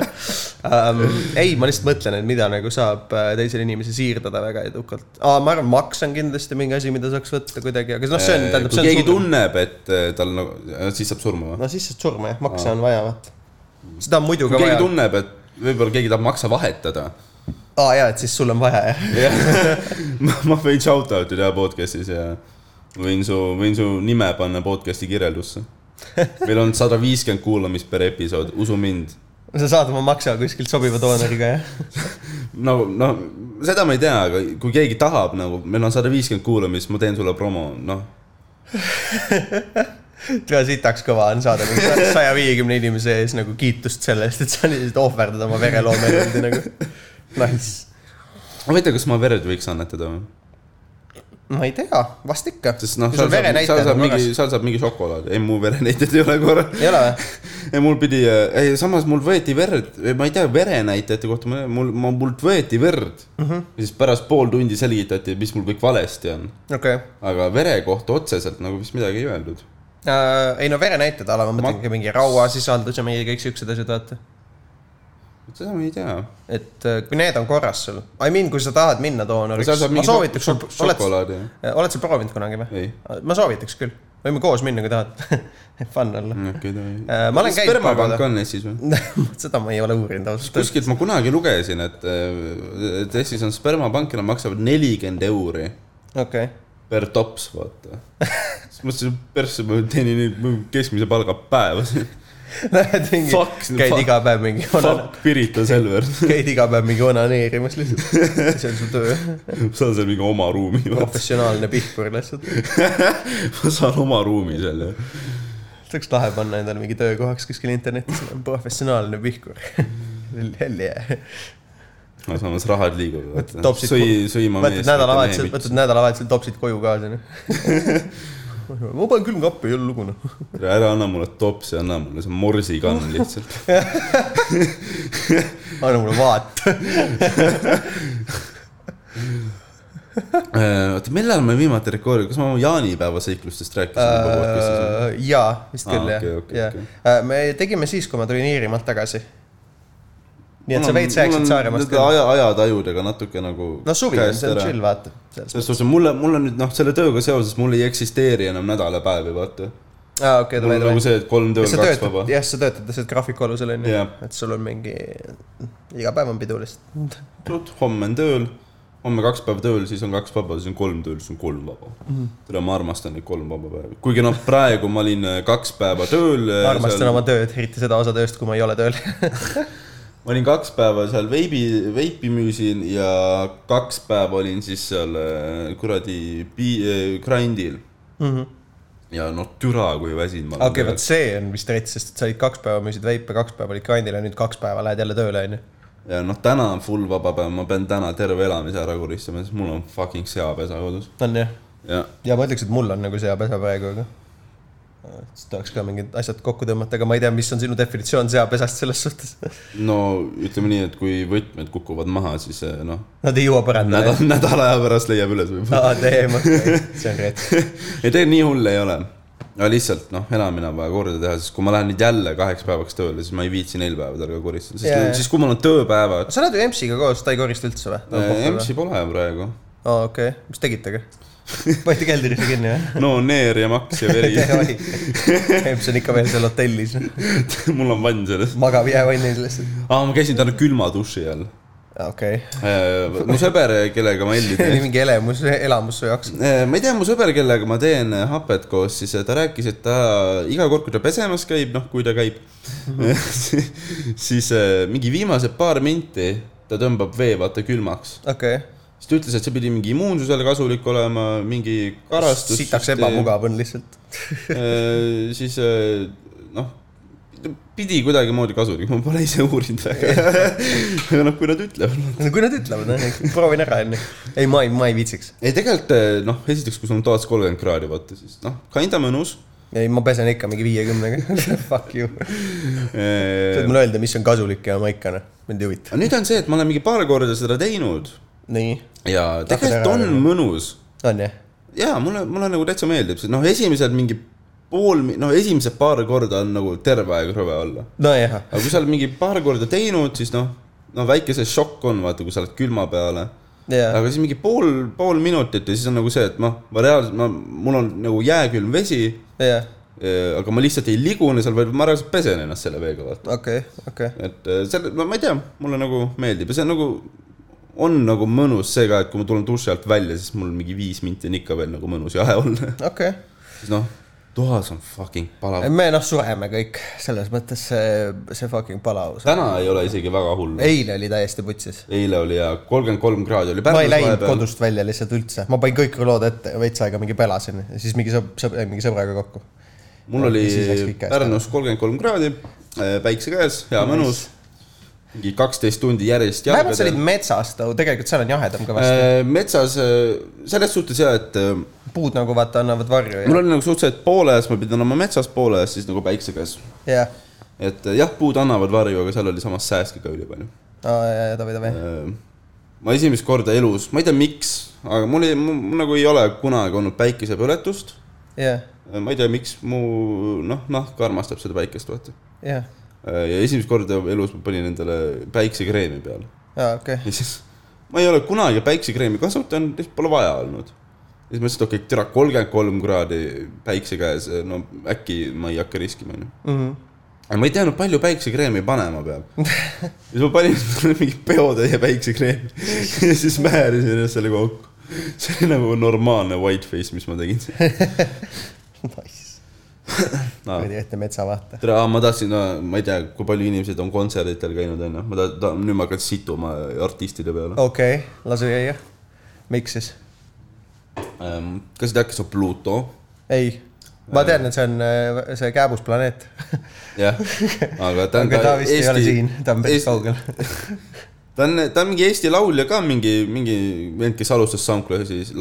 um, . ei , ma lihtsalt mõtlen , et mida nagu saab äh, teisele inimesele siirdada väga edukalt ah, . ma arvan , maks on kindlasti mingi asi , mida saaks võtta kuidagi , aga noh , see on , tähendab , Äh, kui see keegi on surm . tunneb , et eh, tal nagu , siis saab surma või ? no siis saad surma jah , makse on vaja , vaata . seda on muidu kui ka keegi vaja . tunneb , et võib-olla keegi tahab maksa vahetada . aa jaa , et siis sul on vaja jah . [laughs] ma ma võin shout-out'i teha podcast'is ja võin su , võin su nime panna podcast'i kirjeldusse . meil on sada viiskümmend kuulamist per episood , usu mind sa saad oma makse kuskilt sobiva doonoriga jah . no , no seda ma ei tea , aga kui keegi tahab nagu , meil on sada viiskümmend kuulamist , ma teen sulle promo , noh . tea , sitaks kõva on saada mingi saja viiekümne inimese ees nagu kiitust selle eest , et sa lihtsalt ohverdad oma vereloomeelundi nagu . Nice . ma ei tea , kas ma verd võiks annetada või ? ma ei tea , vast ikka . sest noh , seal saab , seal saab mingi , seal saab mingi šokolaad , ei mu verenäited ei ole korras . ei ole või ? ei mul pidi , ei samas mul võeti verd , ma ei tea verenäitajate kohta , mul , mul , mult võeti verd mm . Mhm. -hmm. ja siis pärast pool tundi selgitati , mis mul kõik valesti on . okei aga vere kohta otseselt nagu vist midagi ei öeldud . okay. . Äh, ei no verenäited ala , ma mõtlengi Ma... mingi rauasisaldus ja mingi kõik siuksed asjad , vaata . seda ma ei tea . et äh, kui need on korras sul , I mean , kui sa tahad minna doonoriks seal , saab ma mingi soovitaks sul , oled , šokolaadi . oled sa proovinud kunagi või Ei. ? ma soovitaks küll , võime koos minna , kui tahad . [laughs] Fun olla . okei , Äh, davai . ma olen käinud paar spermapank korda. on Eestis või ? [laughs] seda ma ei ole uurinud ausalt öeldes . kuskilt ma kunagi lugesin , et , et Eestis on spermapankil maksavad nelikümmend euri okei [laughs] okay. , per tops , [laughs] vaata . siis mõtlesin , et persse ma teenin nüüd keskmise palga päevas . lähed mingi , Fuck, käid fuck. iga päev mingi , Fuck Pirita Selver . käid iga päev mingi onaneerimas [laughs] lihtsalt . see on su töö , saan seal mingi oma [laughs] ruumi , vaata . professionaalne pihkur lihtsalt . ma saan oma ruumi seal , jah . saaks lahe panna endale mingi töökohaks kuskil internetis , professionaalne pihkur . Mm. [laughs] Hell yeah . aga samas rahad liiguvad , vaata . Topsid sõi , sõima võtad mees . nädalavahetusel , võtad nädalavahetusel topsid koju kaasa , noh . [laughs] ma panen külmkappi , ei ole lugu , noh . ära anna mulle topsi , anna mulle see [laughs] morsikann lihtsalt . anna mulle [laughs] vaat . Äh, oota , millal me viimati rekordi , kas ma oma jaanipäeva seiklustest rääkisin juba Äh, podcast'is ? jaa , vist Aa, küll , Äh, okei, okei, jah . me tegime siis , kui ma tulin Iirimaalt tagasi . nii et sa veits rääkisid Saaremaast küll . küll . aja , ajatajudega natuke nagu . no suvi on , see on chill , vaata . selles suhtes , mulle , mulle nüüd noh , selle tööga seoses mul ei eksisteeri enam nädalapäevi , vaata . aa , okei , mul davai , on nagu davai . see , et kolm tööl , sa kaks töötad vaba ,. jah , sa töötad lihtsalt graafiku alusel , onju Jah. . et sul on mingi , iga päev on pidu lihtsalt . [laughs] homme on tööl , homme kaks päeva tööl , siis on kaks vaba , siis on kolm tööl , siis on kolm vaba mm. . Mhm. tere , ma armastan neid kolm vaba päeva , kuigi noh , praegu ma olin äh, kaks päeva tööl . ma armastan oma tööd , eriti seda osa tööst , kui ma ei ole [laughs] tööl . ma olin kaks päeva seal veibi , veipi müüsin ja kaks päeva olin siis seal äh, kuradi pi- , grindil . ja noh , türa kui väsinud ma olen Mhm. okei , vot see on vist rets , sest et sa olid kaks päeva müüsid veipe , kaks päeva olid grindil ja nüüd kaks päeva lähed jälle tööle , onju . ja noh , täna on full vaba päev , ma pean täna terve elamise ära koristama , sest mul on fucking seapesa kodus . on jah ? ja ja ma ütleks , et mul on nagu seapesa praegu , aga äh, siis tahaks ka mingid asjad kokku tõmmata , aga ma ei tea , mis on sinu definitsioon seapesast selles suhtes . [laughs] no ütleme nii , et kui võtmed kukuvad maha , siis eh, noh , Nad ei jõua parandada . nädal , nädala aja pärast leiab üles võib-olla . [laughs] [laughs] aa , teeme , see on rets . ei tegelikult nii hull ei ole . aga lihtsalt noh , enamine on vaja korda teha , sest kui ma lähen nüüd jälle kaheks päevaks tööle , siis ma ei viitsi neil päevadel ka koristada , sest Jaa, jaa. yeah. siis kui mul on tööpäevad . sa oled ju EMS-iga koos , ta ei korista üldse või ? MC pole praegu . aa , okei , mis tegitegi ? [laughs] panite keldrisse kinni [laughs] või ? no neer ja maks ja [laughs] veri . EMS on ikka veel seal hotellis , [laughs] mul on vann sellest . magab jäävannis lihtsalt . aa , ma käisin täna külma duši all . okei , mu sõber , kellega ma [laughs] helli see teen oli . mingi elemus , elamus su jaoks . Eh, ma ei tea , mu sõber , kellega ma teen eh, hapet koos , siis ta rääkis , et ta iga kord , kui ta pesemas käib , noh , kui ta käib [laughs] siis eh, mingi viimased paar minti ta tõmbab vee , vaata , külmaks . okei , siis ta ütles , et see pidi mingi immuunsusele kasulik olema , mingi karastus . sitaks . ebamugav on lihtsalt . siis eh, noh , pidi kuidagimoodi kasulik , ma pole ise uurinud [laughs] väga . aga noh , kui nad ütlevad . no kui nad ütlevad , proovin ära enne . ei , ma ei , ma ei viitsiks . ei , tegelikult eh, noh , esiteks , kui sul on toas kolmkümmend kraadi , vaata siis noh , kinda mõnus . ei , ma pesen ikka mingi viiekümnega . [laughs] Fuck you . Eh, saad mulle öelda , mis on kasulik ja ma ikka noh , mind ei huvita . aga nüüd on see , et ma olen mingi paar korda seda teinud nii , ja ära tegelikult on teha. mõnus . on jah ? jaa , mulle , mulle nagu täitsa meeldib , sest noh , esimesed mingi pool , noh , esimesed paar korda on nagu terve aeg rõve olla . nojah , aga kui sa oled mingi paar korda teinud , siis noh , no väike see šokk on , vaata , kui sa oled külma peale . jaa , aga siis mingi pool , pool minutit ja siis on nagu see , et noh , ma reaalselt , ma , mul on nagu jääkülm vesi , jaa , aga ma lihtsalt ei ligune seal , vaid ma reaalselt pesen ennast selle veega , vaata . okei , okei . et eh, selle , no ma ei tea , mulle nagu meeldib ja see on nagu , on nagu mõnus see ka , et kui ma tulen duši alt välja , siis mul mingi viis minti on ikka veel nagu mõnus jahe olla . [laughs] okei , siis noh , toas on fucking palav . me noh , sureme kõik , selles mõttes see , see fucking palavus . täna ei ole isegi väga hull . eile oli täiesti putsis . eile oli ja kolmkümmend kolm kraadi oli ma ei Pärnus läinud vahepeal . kodust välja lihtsalt üldse , ma panin kõik rulood ette ja veits aega mingi pelasin ja siis mingi sõb- , sõb- , mingi sõbraga kokku . mul oli Ja siis läks kõik käest Pärnus kolmkümmend kolm kraadi , päikse käes , hea mõnus . mingi kaksteist tundi järjest vähemalt sa olid metsas , tegelikult seal on jahedam kõvasti . Äh, metsas , selles suhtes ja , et äh, puud nagu vaata annavad varju ja , mul oli nagu suhteliselt poole ees , ma pidin olema metsas poole ees , siis nagu päikse käes jah . et eh, jah , puud annavad varju , aga seal oli samas sääski ka ülipalju . aa , jaa , jaa , davai , davai . ma esimest korda elus , ma ei tea , miks , aga mul ei , mul nagu ei ole kunagi olnud päikesepõletust . jah , ma ei tea , miks mu noh , nahk armastab seda päikest , vaata . jah , ja esimest korda elus ma panin endale päiksekreemi peale aa , okei . ja siis ma ei ole kunagi päiksekreemi kasutanud , lihtsalt pole vaja olnud . ja siis mõtlesin , et okei okay, , türa kolmkümmend kolm kraadi päikse käes , no äkki ma ei hakka riskima , onju . Mhm. aga ma ei teadnud , palju päiksekreemi panema peab . ja siis ma panin [laughs] talle mingi peotäie päiksekreemi ja siis määrisin ennast selle kokku . see oli nagu normaalne white face , mis ma tegin . [laughs] Nice , kuradi ette metsavaate . tere , ma tahtsin , ma ei tea , kui palju inimesed on kontserditel käinud , onju . ma tahan ta, , nüüd ma hakkan situma äh, artistide peale . okei okay, , lase jäia . miks siis ? Ähm, kas te teate , kes on Pluto ? ei , ma tean , et see on äh, see kääbus planeet . [laughs] jah , aga ta on aga ta vist Eesti, ei ole siin , ta on päris Eesti- kaugel . [laughs] ta on , ta on mingi Eesti laulja ka , mingi , mingi vend , kes alustas SoundCloudis ,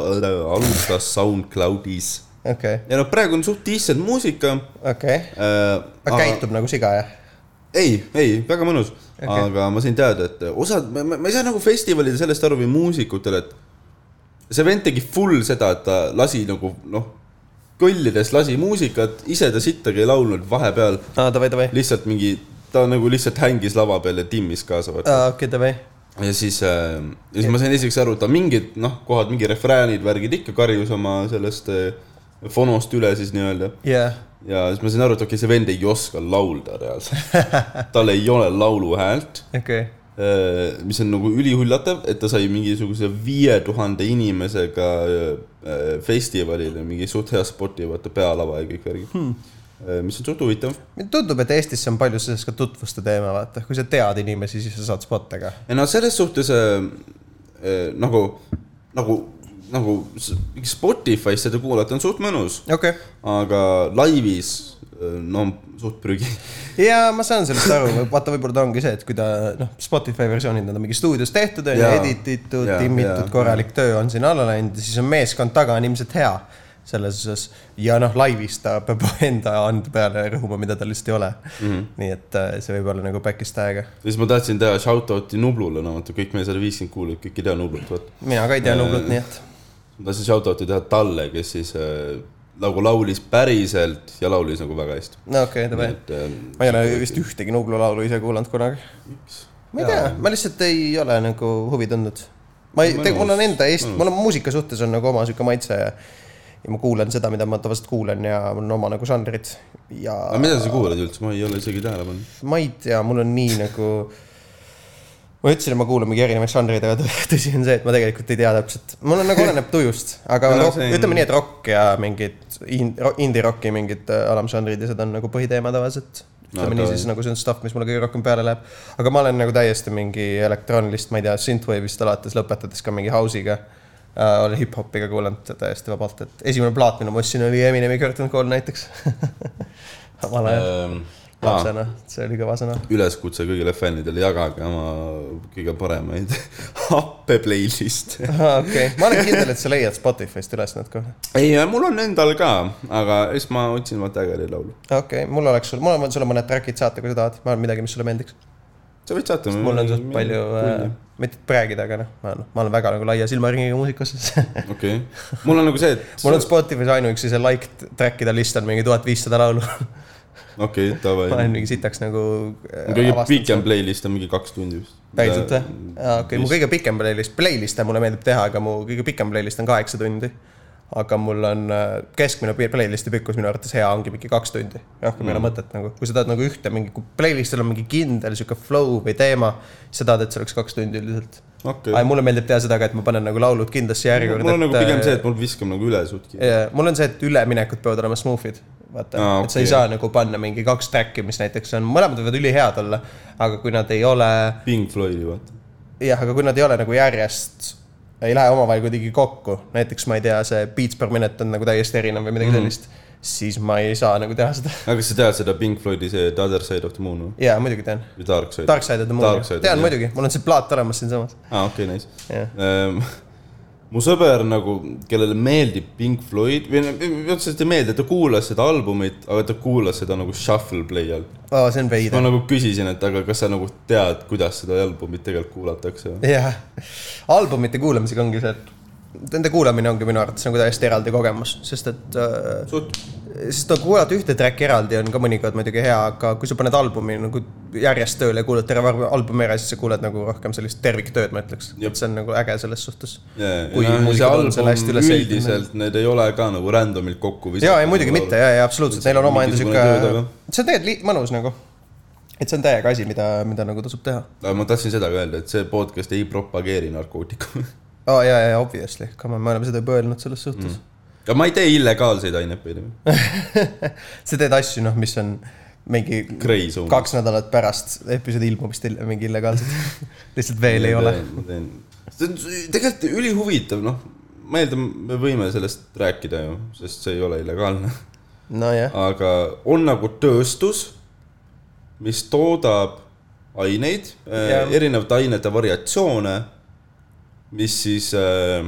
äh, alustas SoundCloudis . okei , ja noh , praegu on suht decent muusika okei . äh, . aga käitub nagu siga , jah ? ei , ei , väga mõnus okay. . Okei. aga ma sain teada , et eh, osad , ma ma- ma ei saa nagu festivalide sellest aru või muusikutele , et see vend tegi full seda , et ta lasi nagu noh , kõllides lasi muusikat , ise ta sittagi ei laulnud , vahepeal aa , davai , davai . lihtsalt mingi ta nagu lihtsalt hängis lava peal ja timmis kaasa , vaata . aa , okei , davai . ja siis , ja siis ma sain esiteks aru , et ta mingid noh , kohad , mingi refräänid , värgid ikka karjus oma sellest äh, fonost üle siis nii-öelda . jaa . ja siis ma sain aru , et okei okay, , see vend ei oska laulda reaalselt . tal ei ole lauluhäält , okei . mis on nagu ülihullatav , et ta sai mingisuguse viie tuhande inimesega äh, festivalile mingi suht hea spoti , vaata pealava ja kõik värgid hmm. . mis on suht huvitav . tundub , et Eestis on palju sellest ka tutvuste teema , vaata , kui sa tead inimesi , siis sa saad spottega . ei no selles suhtes äh, äh, nagu , nagu , nagu s- Spotify's seda kuulata on suht mõnus , okei aga laivis äh, no suht prügi . ja ma saan sellest aru , vaata , võib-olla ta ongi see , et kui ta noh , Spotify versioonid nad on mingi stuudios tehtud , on ju , Jaa. edititud Jaa, , timmitud jaa. , korralik töö on sinna alla läinud ja siis on meeskond taga on ilmselt hea selles osas . ja noh , laivis ta peab [laughs] enda ande peale rõhuma , mida tal lihtsalt ei ole mm . Mhm. -hmm. nii et äh, see võib olla nagu back'ist aega . siis ma tahtsin teha shout-out'i Nublule , no vaata kõik meie sada viiskümmend kuulajat , kõik ei tea Nublut , vaata . mina ka ei tea Äh, Nublut , nii et ma tahtsin shout-out'i teha talle , kes siis äh, nagu laulis päriselt ja laulis nagu väga hästi . ähm, no okei okay, , davai . ma ei ole vist ühtegi Nublu laulu ise kuulanud kunagi . ma ei tea , ma lihtsalt ei ole nagu huvi tundnud . ma ei , Mõnus, tegelikult mul on enda Eest- , mul on muusika suhtes on nagu oma sihuke maitse ja ja ma kuulan seda , mida ma tavaliselt kuulan ja mul on oma nagu žanrid ja aga mida sa kuulad üldse , ma ei ole isegi tähele pannud . ma ei tea , mul on nii nagu ma ütlesin , et ma kuulan mingi erinevaid žanreid , aga [laughs] tõ- tõsi on see , et ma tegelikult ei tea täpselt . mul [laughs] on nagu oleneb tujust , aga No no, rock, see on- ütleme nii , et rock ja mingid in- , indie-rocki mingid äh, alamžanrid ja seda on nagu põhiteema tavaliselt . ütleme No, no, nii , ta- siis nagu see on stuff , mis mulle kõige rohkem peale läheb . aga ma olen nagu täiesti mingi elektroonilist , ma ei tea , synthwave'ist alates , lõpetades ka mingi house'iga äh, . olen hip-hopiga kuulanud täiesti vabalt , et esimene plaat , mille ma ostsin , oli Eminemi Curtain Call näiteks . [laughs] omal ajal Ah, lapsena , see oli kõva sõna . üleskutse kõigile fännidele , jagage oma kõige paremaid [laughs] happe playlist'e . okei , ma olen kindel , et sa leiad Spotify'st üles need kohe . ei , mul on endal ka , aga siis ma otsin vaata ägeda laulu . okei okay, , mul oleks sul , mul on sulle mõned track'id saata , kui sa tahad , ma olen midagi , mis sulle meeldiks . sa võid saata . mul on suht palju äh, , mitte praegida , aga noh , ma olen , ma olen väga nagu laia silmaringiga muusikas . [laughs] okei , mul on nagu see , et äh, [laughs] mul on Spotify's ainuüksi see liked track'ide list on mingi tuhat viissada laulu . okei , ma davai olen . mingi sitaks nagu . kõige pikem playlist on mingi kaks tundi vist . päriselt või ? Äh, aa , okei , mu kõige pikem playlist , playlist'e mulle meeldib teha , aga mu kõige pikem playlist on kaheksa tundi . aga mul on äh, keskmine pi- playlist'i pikkus minu arvates hea ongi mingi kaks tundi . rohkem Mm. ei ole mõtet nagu , kui sa tahad nagu ühte mingi , kui playlist'il on mingi kindel sihuke flow või teema , siis sa tahad , et see oleks kaks tundi üldiselt . okei aga , mulle meeldib teha seda ka , et ma panen nagu laulud kindlasse järjekorda . mul on nagu pigem see , et mul viskab nagu üle suht kiirelt . Ja, äh, mul on see , äh, et üleminekud peavad olema smooth'id , vaata no, , Aa, okay. et sa ei okei. saa nagu panna mingi kaks track'i , mis näiteks on , mõlemad võivad ülihead olla , aga kui nad ei ole Pink Floydi vaata . jah , aga kui nad ei ole nagu järjest , ei lähe omavahel kuidagi kokku , näiteks ma ei tea , see beats per minute on nagu täiesti erinev või midagi mm. sellist , siis ma ei saa nagu teha seda . [laughs] aga kas sa tead seda Pink Floydi see The Other Side of the Moon või? jaa , muidugi tean . või Dark Side ? Dark Side of the Moon Dark , Side, tean jah. muidugi , mul on see plaat olemas siinsamas . aa , okei , nice . jah , [laughs] mu sõber nagu , kellele meeldib Pink Floyd või no otseselt ei meeldi , ta kuulas seda albumit , aga ta kuulas seda nagu shuffle play all . see on ma veider . nagu küsisin , et aga kas sa nagu tead , kuidas seda albumit tegelikult kuulatakse või ? jah , albumite kuulamisega ongi see , et nende kuulamine ongi minu arvates nagu täiesti eraldi kogemus , sest et äh, suht , sest no kuulata ühte track'i eraldi on ka mõnikord muidugi hea , aga kui sa paned albumi nagu järjest tööle ja kuulad terve arv- albumi ära , siis sa kuuled nagu rohkem sellist terviktööd , ma ütleks . Jep. et see on nagu äge selles suhtes . Kui kui no, see muusikud on album selle hästi üles noh, ehitanud. üldiselt , need ei ole ka nagu random'ilt kokku ja , ja muidugi mitte , ja , ja absoluutselt , neil on omaenda Mingisugune sihuke töö taga. , see on tegelikult li- mõnus nagu . et see on täiega asi , mida , mida nagu tasub teha . aga ma tahtsin seda ka öelda , et see podcast ei propageeri [laughs] narkootikume . aa oh, , ja , ja obviously , come on , me oleme seda juba öelnud selles suhtes mm. . ja ma ei tee illegaalseid aineid , [laughs] sa teed asju , noh , mis on mingi Grey Zone . kaks nädalat pärast episoodi ilmumist ill- mingi illegaalselt . lihtsalt veel ei ole . ma teen , see on s- tegelikult ülihuvitav , noh , ma eeldan , me võime sellest rääkida ju , sest see ei ole illegaalne , nojah , aga on nagu tööstus , mis toodab aineid , Jah. erinevate ainete variatsioone , mis siis äh,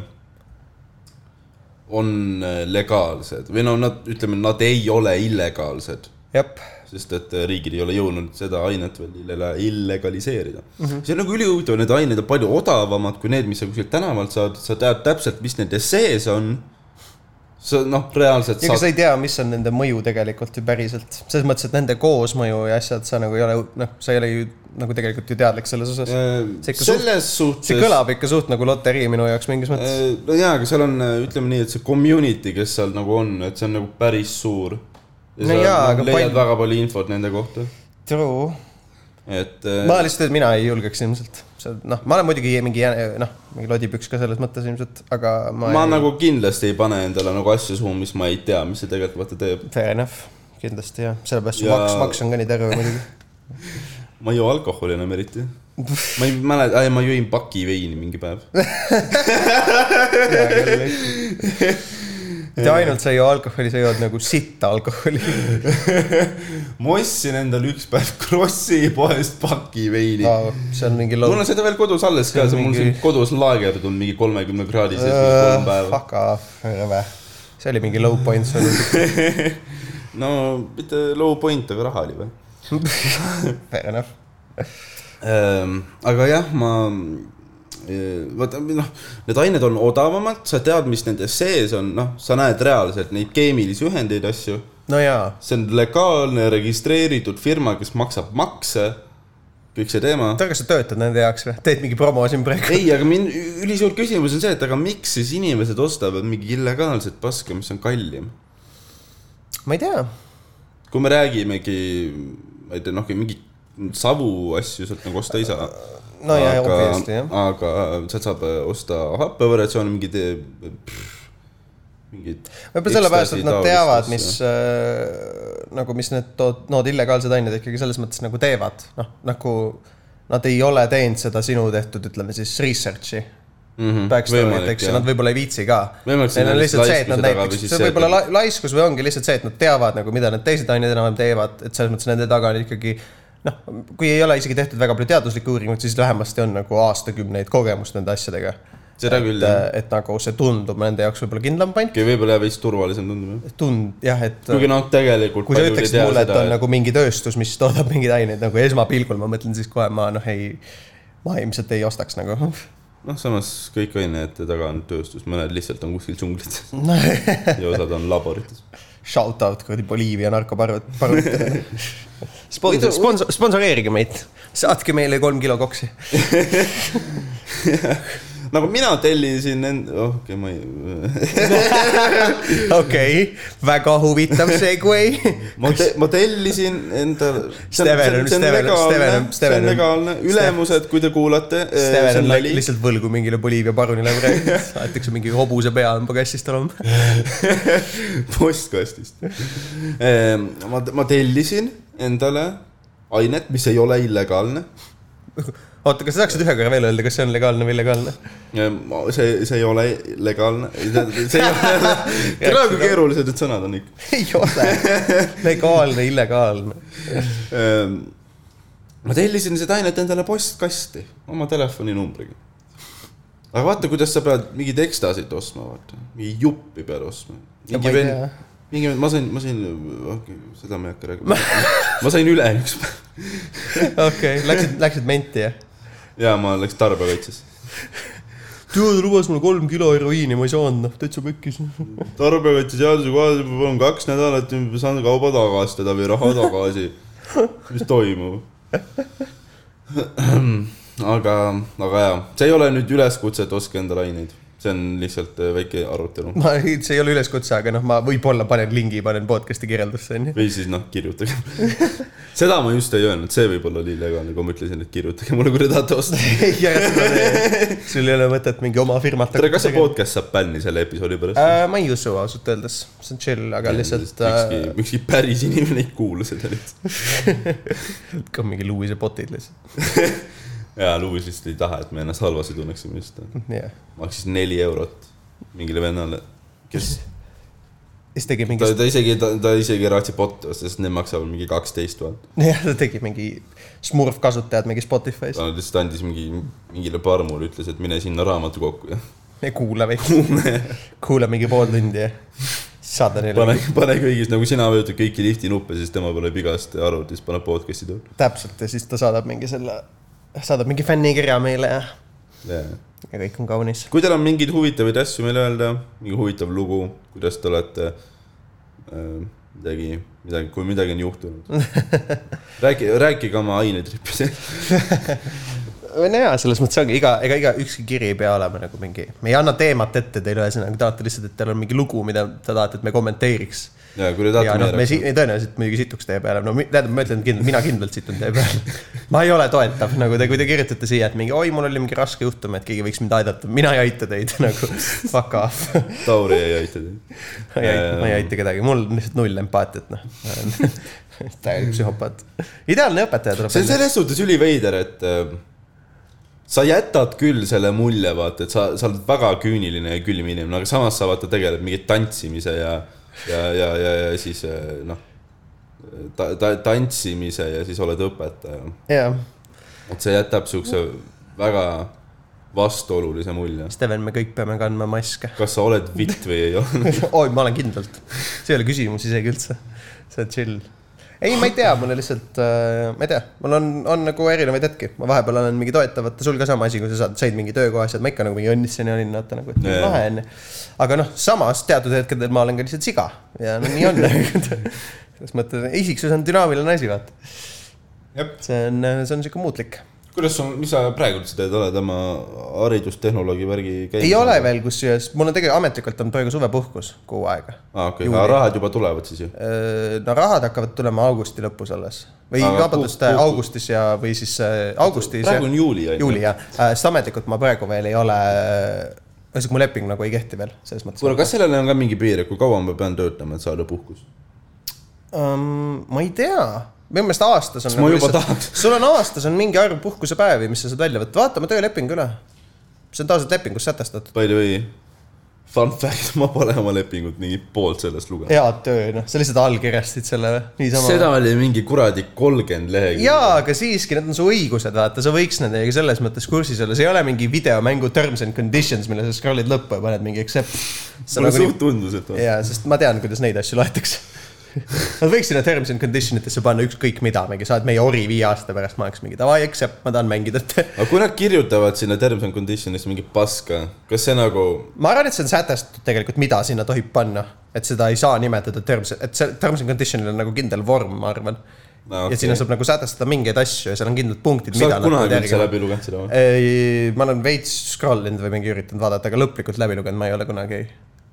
on äh, legaalsed või no nad , ütleme , nad ei ole illegaalsed jep , sest et äh, riigid ei ole jõudnud seda ainet veel ille- illegaliseerida mm . -hmm. see on nagu ülihuvitav , need ained on palju odavamad kui need , mis sa kuskilt tänavalt saad , sa tead täpselt , mis nende sees on . sa noh , reaalselt ega saad sa ei tea , mis on nende mõju tegelikult ju päriselt , selles mõttes , et nende koosmõju ja asjad , sa nagu ei ole , noh , sa ei ole ju nagu tegelikult ju teadlik selles osas . see äh, ikka selles suhtes . see kõlab ikka suht nagu loterii minu jaoks mingis mõttes . no jaa , aga seal on , ütleme nii , et see community , kes seal nagu on , et see on nagu päris suur . ja No sa jaa, aga nagu leiad palju- väga palju infot nende kohta , True . et . äh, ma lihtsalt , mina ei julgeks ilmselt , see noh , ma olen muidugi mingi jäne- noh , mingi lodipüks ka selles mõttes ilmselt , aga ma, ma ei... nagu kindlasti ei pane endale nagu asju suhu , mis ma ei tea , mis see tegelikult vaata teeb . fair enough , kindlasti jah , sellepärast ja... Ja- maks , maks on ka nii terve muidugi . ma ei joo alkoholi enam eriti . ma ei mäleta , ma jõin paki veini mingi päev . mitte ainult sa ei joo alkoholi , sa jood nagu sitta alkoholi . ma ostsin endale üks päev Krossi poest paki veini no. . see on mingi mul lood . on seda veel kodus alles ka , see on mul mingi- siin kodus laagerdud mingi kolmekümne kraadi sees mingi kolm päeva . Äh, Fuck off , rõve . see oli mingi low point sul . no mitte low point , aga raha oli või ? [laughs] fair enough . Ähm, aga jah , ma , vaata noh , need ained on odavamad , sa tead , mis nende sees on , noh , sa näed reaalselt neid keemilisi ühendeid , asju . no jaa , see on legaalne registreeritud firma , kes maksab makse . kõik see teema . oota , kas sa töötad nende jaoks või ? teed mingi promo siin praegu ? ei , aga mind ülisuur küsimus on see , et aga miks siis inimesed ostavad mingi illegaalset paska , mis on kallim ? ma ei tea . kui me räägimegi , ma ei tea , noh , mingi savu asju sealt nagu osta ei saa . no jaa , obviously jah . aga sealt saab osta happevariatsioone , mingid , mingid . võib-olla sellepärast , et nad teavad , mis äh, nagu , mis need tood- , nood illegaalsed ained ikkagi selles mõttes nagu teevad , noh nagu nad ei ole teinud seda sinu tehtud , ütleme siis research'i Mhm, backstory't , võimalik, eks ju , jah. nad võib-olla ei viitsi ka . Võimalik, see Neil on on lihtsalt see , et laiskuse nad taga või näiteks , siis see see, võib-olla et- la- laiskus või ongi lihtsalt see , et nad teavad nagu , mida need teised ained enam-vähem teevad , et selles mõttes nende taga on ikkagi noh , kui ei ole isegi tehtud väga palju teaduslikke uuringuid , siis vähemasti on nagu aastakümneid kogemust nende asjadega . seda küll et, jah , et nagu see tundub nende jaoks võib-olla kindlam pant , võib-olla jääb veits turvalisem tunduma . tund jah , et kuigi noh , tegelikult . kui sa ütleksid mulle , et on nagu mingi tööstus , mis toodab mingeid aineid nagu esmapilgul , ma mõtlen siis kohe ma noh , ei , ma ilmselt ei ostaks nagu . [laughs] noh , samas kõik ainete taga on tööstus , mõned lihtsalt on kuskil džunglites [laughs] ja osad on laborites . Shout out kuradi Boliivia narkoparud , parutele . [laughs] sponsor , sponsor , sponsoreerige meid , saatke meile kolm kilo koksi . nagu mina tellisin end- , oh , okei , ma ei , [laughs] okei , väga huvitav [laughs] segway . ma te- , ma tellisin endale . Steven on- Steven on- Steven on- see Steven on on- legaalne , ülemused , kui te kuulate . äh, Steven on läinud lihtsalt võlgu mingile Boliivia parunile praegu , aetakse mingi hobuse pea on pagassist olema . [laughs] postkastist . ma , ma tellisin endale ainet , mis ei ole illegaalne . oota , kas sa saaksid ühe korra veel öelda , kas see on legaalne või illegaalne ? Ehm, see , see ei ole legaalne , see ei [laughs] ole , tead kui keerulised need sõnad on ikka . ei ole , [laughs] legaalne , illegaalne . Ehm, ma tellisin seda ainet endale postkasti oma telefoninumbriga . aga vaata , kuidas sa pead mingeid ekstasid ostma , vaata , mingi juppi pead ostma . Ma mingi ei vend tea. , mingi vend , ma sain , ma sain , seda ma ei hakka [laughs] rääkima , ma sain üle üks päev okei , läksid , läksid menti jah ? ja ma läks tarbijakaitsesse . tead , lubas mulle kolm kilo heroiini , ma ei saanud , noh , täitsa mökkis . tarbijakaitseseaduse kohaselt ma palun kaks nädalat , saan kauba tagastada või raha tagasi . mis toimub ? aga , aga jaa , see ei ole nüüd üleskutse , et ostke endale aineid , see on lihtsalt eh, väike arutelu ma , see ei ole üleskutse , aga noh , ma võib-olla panen lingi , panen podcast'i kirjeldusse , onju . või siis noh , kirjutage . seda ma just ei öelnud , see võib olla oli illegaalne , kui ma ütlesin , et kirjutage mulle , kui te tahate osta . sul ei ole mõtet mingi oma firmat tere , kas see podcast saab bänni selle episoodi pärast ? äh, ? ma ei usu ausalt öeldes , see on chill , aga lihtsalt ükski äh, , ükski päris inimene ei kuula seda lihtsalt . ka mingi Louise botid lihtsalt , jaa , Luis lihtsalt ei taha , et me ennast halvasti tunneksime lihtsalt jah . maksis neli eurot mingile vennale , kes , siis tegi ta mingi ,, ta isegi , ta , ta isegi ei raatsi botte osta , sest need maksavad mingi kaksteist vaata . [laughs] jah , ta tegi mingi smurf kasutajad mingi Spotify's , ta lihtsalt andis mingi , mingile parmule , ütles , et mine sinna raamatukokku ja ei kuula veidi , kuula mingi pool tundi ja saada pane neile ,, pane kõigis , nagu sina vajutad kõiki lifti nuppe , siis tema paneb igast arvutis , paneb podcast'i tööle täpselt ja siis ta saadab mingi selle , saadab mingi fännikirja meile ja yeah. . ja kõik on kaunis . kui teil on mingeid huvitavaid asju meile öelda , mingi huvitav lugu , kuidas te olete äh, midagi , midagi , kui midagi on juhtunud . räägi , rääkige oma ainetripidest . no jaa , selles mõttes ongi iga , ega iga , ükski kiri ei pea olema nagu mingi , me ei anna teemat ette teile , ühesõnaga tahate lihtsalt , et teil on mingi lugu , mida te tahate , et me kommenteeriks . ja kui te ja tahate noh , meile me si- rääkida , tõenäoliselt muidugi situks teie peale , no mi- tähendab , ma ütlen kindlalt , mina kindlalt situn teie [laughs] peale . ma ei ole toetav , nagu te , kui te kirjutate siia , et mingi oi , mul oli mingi raske juhtum , et keegi võiks mind aidata , mina ei aita teid [laughs] nagu fuck off . Tauri ei aita teid . ma ei aita , Äh. ma ei aita kedagi , mul on lihtsalt null empaatiat , noh . [laughs] täielik psühhopaat . ideaalne õpetaja tuleb see on . selles suhtes üliveider , et äh, sa jätad küll selle mulje , vaata , et sa , sa oled väga küüniline ja külm inimene , aga samas sa vaata tegeled mingi tantsimise ja , ja , ja , ja , ja siis äh, noh , ta, ta, tantsimise ja siis oled õpetaja jah , et see jätab siukse väga vastuolulise mulje . Steven , me kõik peame kandma maske . [laughs] kas sa oled vitt või ei ole ? oi , ma olen kindlalt , see ei ole küsimus isegi üldse , see on chill . ei , ma ei tea , mul on lihtsalt äh, , ma ei tea , mul on , on nagu erinevaid hetki , ma vahepeal olen mingi toetavate , sul ka sama asi , kui sa saad , said mingi töökoha asjad , ma ikka nagu mingi õnnitseni olin , vaata nagu , et mingi Jajah. lahe onju . aga noh , samas teatud hetkedel ma olen ka lihtsalt siga ja no [laughs] nii on . selles mõttes , isiksus on dünaamiline asi , vaata . [laughs] Jep. see on , see on sihuke muutlik . kuidas sul , mis sa praegu üldse teed , oled oma haridustehnoloogi värgi käinud ? ei ole . veel kusjuures , mul on tegelikult ametlikult on praegu suvepuhkus kuu aega aa , Ah, okei , aga rahad juba tulevad siis ju ? Öö, no rahad hakkavad tulema augusti lõpus alles või Aga vabandust puh- , puh- augustis ja , või siis äh, augustis ja praegu on juuli on ju . juuli ja , sest ametlikult ma praegu veel ei ole , ühesõnaga mu leping nagu ei kehti veel selles mõttes . kuule , kas sellele on ka mingi piir , et kui kaua ma pean töötama , et saada puhkust ? Um, ma ei tea , minu meelest aastas on . ma juba tahaks. . [laughs] sul on aastas on mingi arv puhkusepäevi , mis sa saad välja võtta , vaata oma tööleping üle . see on tavaliselt lepingus sätestatud . By the way , fun fact , [laughs] ma pole oma lepingut mingi poolt sellest lugenud . hea töö , noh , sa lihtsalt allkirjastasid selle või? niisama . seda oli mingi kuradi kolmkümmend lehekülge . jaa , aga siiski , need on su õigused , vaata , sa võiks nendega selles mõttes kursis olla , see ei ole mingi videomängu terms and conditions , mille sa scroll'id lõppu ja paned mingi accept . mulle nagu suht tundus , et on . jaa , sest ma tean , kuidas neid asju loetakse . Nad võiks sinna terms and condition itesse panna ükskõik mida , mingi saad meie ori viie aasta pärast , ma oleks mingi davai accept , ma tahan mängida . [laughs] aga kui nad kirjutavad sinna terms and condition'isse mingit paska , kas see nagu ma arvan , et see on sätestatud tegelikult , mida sinna tohib panna , et seda ei saa nimetada terms , et see terms and condition'il on nagu kindel vorm , ma arvan . Aa, ja okei. sinna saab nagu sätestada mingeid asju ja seal on kindlad punktid , sa mida oled kunagi üldse peavad järgima. läbi lugenud seda või ? ei , ma olen veits scroll inud või mingi üritanud vaadata , aga lõplikult läbi lugenud ma ei ole kunagi ,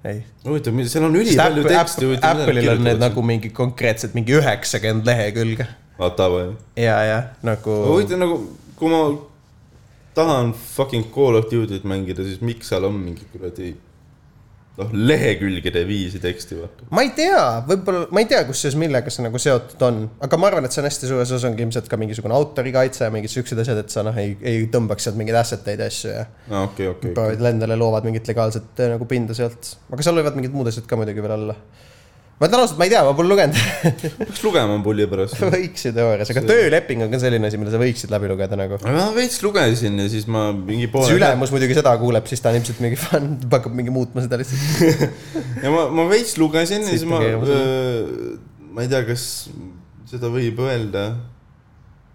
ei . huvitav , seal on üli palju teksti . Apple'il on need . nagu mingi konkreetselt mingi üheksakümmend lehekülge vaata või ? ja , ja nagu huvitav nagu , kui ma tahan fucking Call of Duty't mängida , siis miks seal on mingi kuradi noh , lehekülgede viisi teksti vaata . ma ei tea , võib-olla , ma ei tea , kusjuures millega see nagu seotud on , aga ma arvan , et see on hästi suures osas ongi ilmselt ka mingisugune autorikaitse ja mingid siuksed asjad , et sa noh , ei , ei tõmbaks sealt mingeid asset eid ja asju ja aa , okei , okei . proovid endale loovad mingit legaalset eh, nagu pinda sealt , aga seal võivad mingid muud asjad ka muidugi veel olla . ma ütlen ausalt , ma ei tea , ma pole lugenud [laughs] peaks lugema pulli pärast . võiksid juures , aga tööleping on ka selline asi , mille sa võiksid läbi lugeda nagu . ma veits lugesin ja siis ma mingi see poole . ülemus muidugi seda kuuleb , siis ta on ilmselt mingi fun , hakkab mingi muutma seda lihtsalt . ja ma , ma veits lugesin ja siis ma äh, Siit on , ma ei tea , kas seda võib öelda .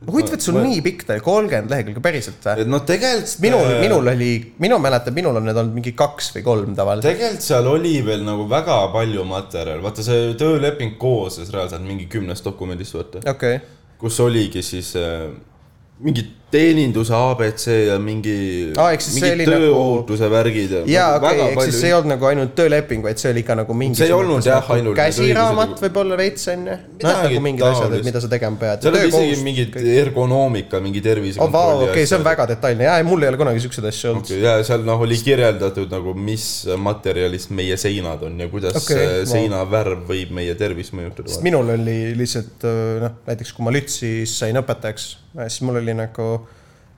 huvitav , et sul nii pikk ta oli , kolmkümmend lehekülge päriselt või ? et noh , tegelikult . minul , minul oli , minu mäletab , minul on need olnud mingi kaks või kolm tavaliselt . tegelikult seal oli veel nagu väga palju materjali , vaata see tööleping koosnes reaalselt mingi kümnest dokumendist , vaata , okei okay. , kus oligi siis äh, mingi teeninduse abc ja mingi Aa, ehk siis see mingi oli nagu- tööohutuse värgid ja jaa nagu okei väga okay. , ehk siis palju- see ei olnud nagu ainult tööleping , vaid see oli ka nagu mingi . See ei olnud jah, ainult need käsiraamat õigused- võib-olla veits onju . noh , Midagi nagu mingid asjad , taolist. et mida sa tegema pead . seal oli isegi mingid ergonoomika , mingi oh, . vau , tervisekontrolli okei okay, , see on väga detailne , jaa , mul ei ole kunagi siukseid asju olnud . ja seal noh , oli kirjeldatud nagu , mis materjalist meie seinad on ja kuidas Okei, okay, vau. seina värv võib meie tervist mõjutada sest . minul oli lihtsalt öö, noh , näiteks kui ma lütsis sain õpetajaks , siis mul oli nagu ,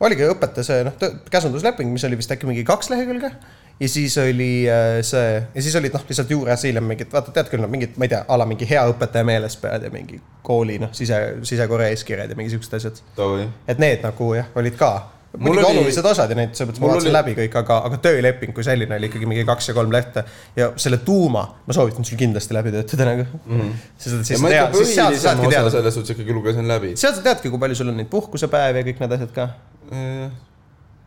oligi õpetaja see noh , käsundusleping , mis oli vist äkki mingi kaks lehekülge ja siis oli äh, see ja siis olid noh , lihtsalt juures hiljem mingid , vaata tead küll , no mingid , ma ei tea , a la mingi hea õpetaja meeles pead ja mingi kooli noh , sise , sise-Korea eeskirjad ja mingi siuksed asjad . et need nagu jah , olid ka Mul muidugi oli- olulised osad ja neid selles mõttes ma mul vaatasin oli- läbi kõik , aga , aga tööleping kui selline oli ikkagi mingi kaks ja kolm lehte ja selle tuuma ma soovitan sul kindlasti läbi töötada nagu mm . [laughs] -hmm. sest et siis Mhm. ja ma tea ikka , siis seal sa põhilisema saadki osa teada , selles suhtes ikkagi lugesin läbi . Noh, seal sa teadki , kui palju sul on neid puhkusepäevi ja kõik need asjad ka .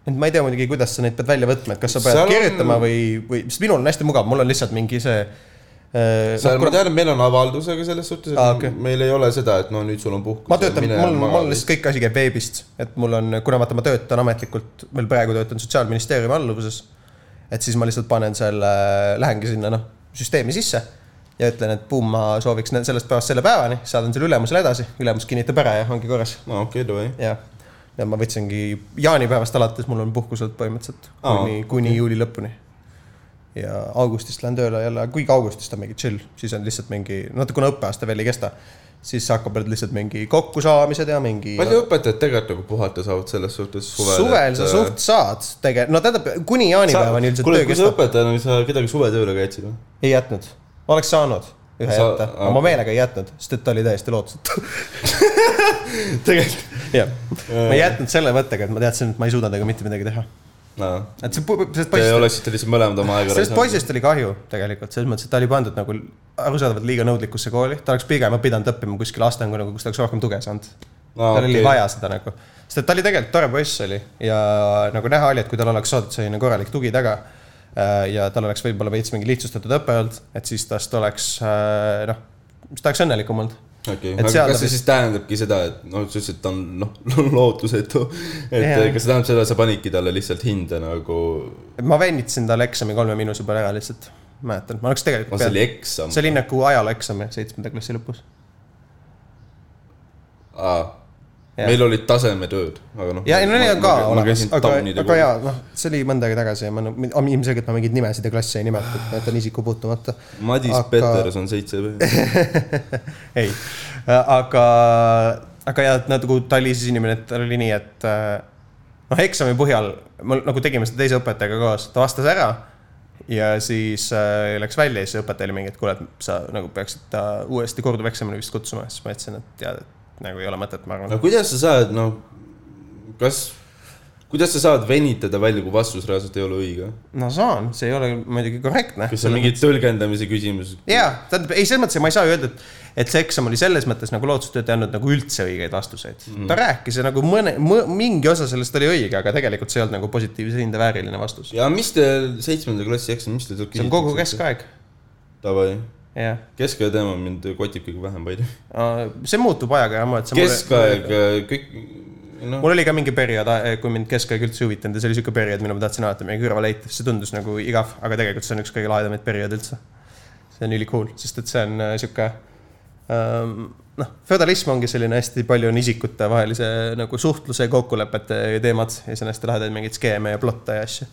et ma ei tea muidugi , kuidas sa neid pead välja võtma , et kas sa pead Seal on- kirjutama on... või , või , sest minul on hästi mugav , mul on lihtsalt mingi see äh, seal , ma tean , et meil on avaldus , aga selles suhtes , et Aa, okei. meil ei ole seda , et no nüüd sul on puhkus . ma töötan , mul , mul on lihtsalt kõik asi käib veebist , et mul on , kuna vaata , ma töötan ametlikult , veel praegu töötan Sotsiaalministeeriumi alluvuses . et siis ma lihtsalt panen selle , lähengi sinna noh , süsteemi sisse ja ütlen , et buum , ma sooviks nä- sellest päevast selle päevani , saadan selle ülemusele edasi , ülemus kinnitab ära ja ongi korras , no okei , davai . jah . ja ma võtsingi jaanipäevast alates , mul on puhkuselt põhimõtteliselt Aa, kuni , kuni juuli lõpuni ja augustist lähen tööle jälle , kuigi augustist on mingi chill , siis on lihtsalt mingi , no kuna õppeaasta veel ei kesta , siis hakkavad lihtsalt mingi kokkusaamised ja mingi . palju õpetajad tegelikult nagu puhata saavad selles suhtes suvel ? suvel sa suht saad tegelikult , no tähendab kuni jaanipäevani üldiselt kuule , töö kui äh, sa kestab . õpetajana , sa kedagi suvetööle käitsid [laughs] või ? ei jätnud , oleks saanud ühe Sa- jätta , aga ma okei. meelega ei jätnud , sest et ta oli täiesti lootusetu . tegelikult . jah , [laughs] ma ei jätnud selle mõttega , et ma teadsin , et ma ei suuda temaga mitte midagi teha . noh , et see , te sellest poisist oleksite lihtsalt mõlemad oma aega sellest . poisist oli kahju tegelikult , selles mõttes , et ta oli pandud nagu arusaadavalt liiga nõudlikusse kooli , ta oleks pigem pidanud õppima kuskil astangu nagu , kus ta oleks rohkem tuge saanud no, . Aa, tal okay. oli okei. vaja seda nagu , sest et ta oli tegelikult tore poiss oli ja nagu näha oli , et kui tal oleks saadud selline korralik tugi taga äh, ja tal oleks võib-olla veits mingi lihtsustatud õpe olnud , et siis tast oleks äh, noh , siis ta oleks õnnelikum olnud . okei Et okay. , seal aga ta kas see vist- siis tähendabki seda , et noh , sa ütlesid , et ta on noh , [laughs] lootusetu . et Jaa. yeah. kas see tähendab seda , sa panidki talle lihtsalt hinde nagu , ma vennitasin talle eksami kolme miinuse peale ära lihtsalt , mäletan , ma oleks tegelikult see oli peal... , eksam . see oli nagu ajalooeksam jah , seitsmenda klassi lõpus . aa , Jah. meil olid tasemetööd , aga noh . ja ei no need on ka olemas olemas ,, aga , aga jaa . jaa , noh , see oli mõnda aega tagasi ja ma no, , ilmselgelt ma mingeid nimesid ja klasse ei nimetanud , ma jätan isikupuutumata . Madis aga- aga... Peterson seitse B . ei , aga , aga jaa , et nagu ta oli siis inimene , et tal oli nii , et äh, noh , eksami põhjal me nagu tegime seda teise õpetajaga koos , ta vastas ära ja siis äh, läks välja ja siis õpetaja oli mingi , et kuule , et sa nagu peaksid ta uuesti korduveksamile vist kutsuma , siis ma ütlesin , et jaa , et nagu ei ole mõtet , ma arvan no . kuidas sa saad , noh , kas , kuidas sa saad venitada välja , kui vastus reaalselt ei ole õige ? no saan , see ei ole muidugi korrektne . kas see on mingi tõlgendamise küsimus ? jaa , tähendab , ei selles mõttes , ma ei saa ju öelda , et , et see eksam oli selles mõttes nagu lootusetööd ei andnud nagu üldse õigeid vastuseid mm. . ta rääkis ja nagu mõne mõ, , mingi osa sellest oli õige , aga tegelikult see ei olnud nagu positiivse hinde vääriline vastus . ja mis teil seitsmenda klassi eksam , mis teil seal see on kogu . keskaeg , Davai , jah . keskaja teema mind kotib kõige vähem , ma ei tea . see muutub ajaga ja ma , et see keskaeg , kõik , noh , mul oli ka mingi periood , kui mind keskaeg üldse ei huvitanud ja see oli siuke periood , mille ma tahtsin alati meie kõrvale heita , sest see tundus nagu igav , aga tegelikult see on üks kõige lahedamaid perioode üldse . see on ülikool , sest et see on äh, siuke ähm, noh , feodalism ongi selline hästi palju on isikutevahelise nagu suhtluse ja kokkulepete teemad ja siis on hästi lahedaid mingeid skeeme ja plotte ja asju ,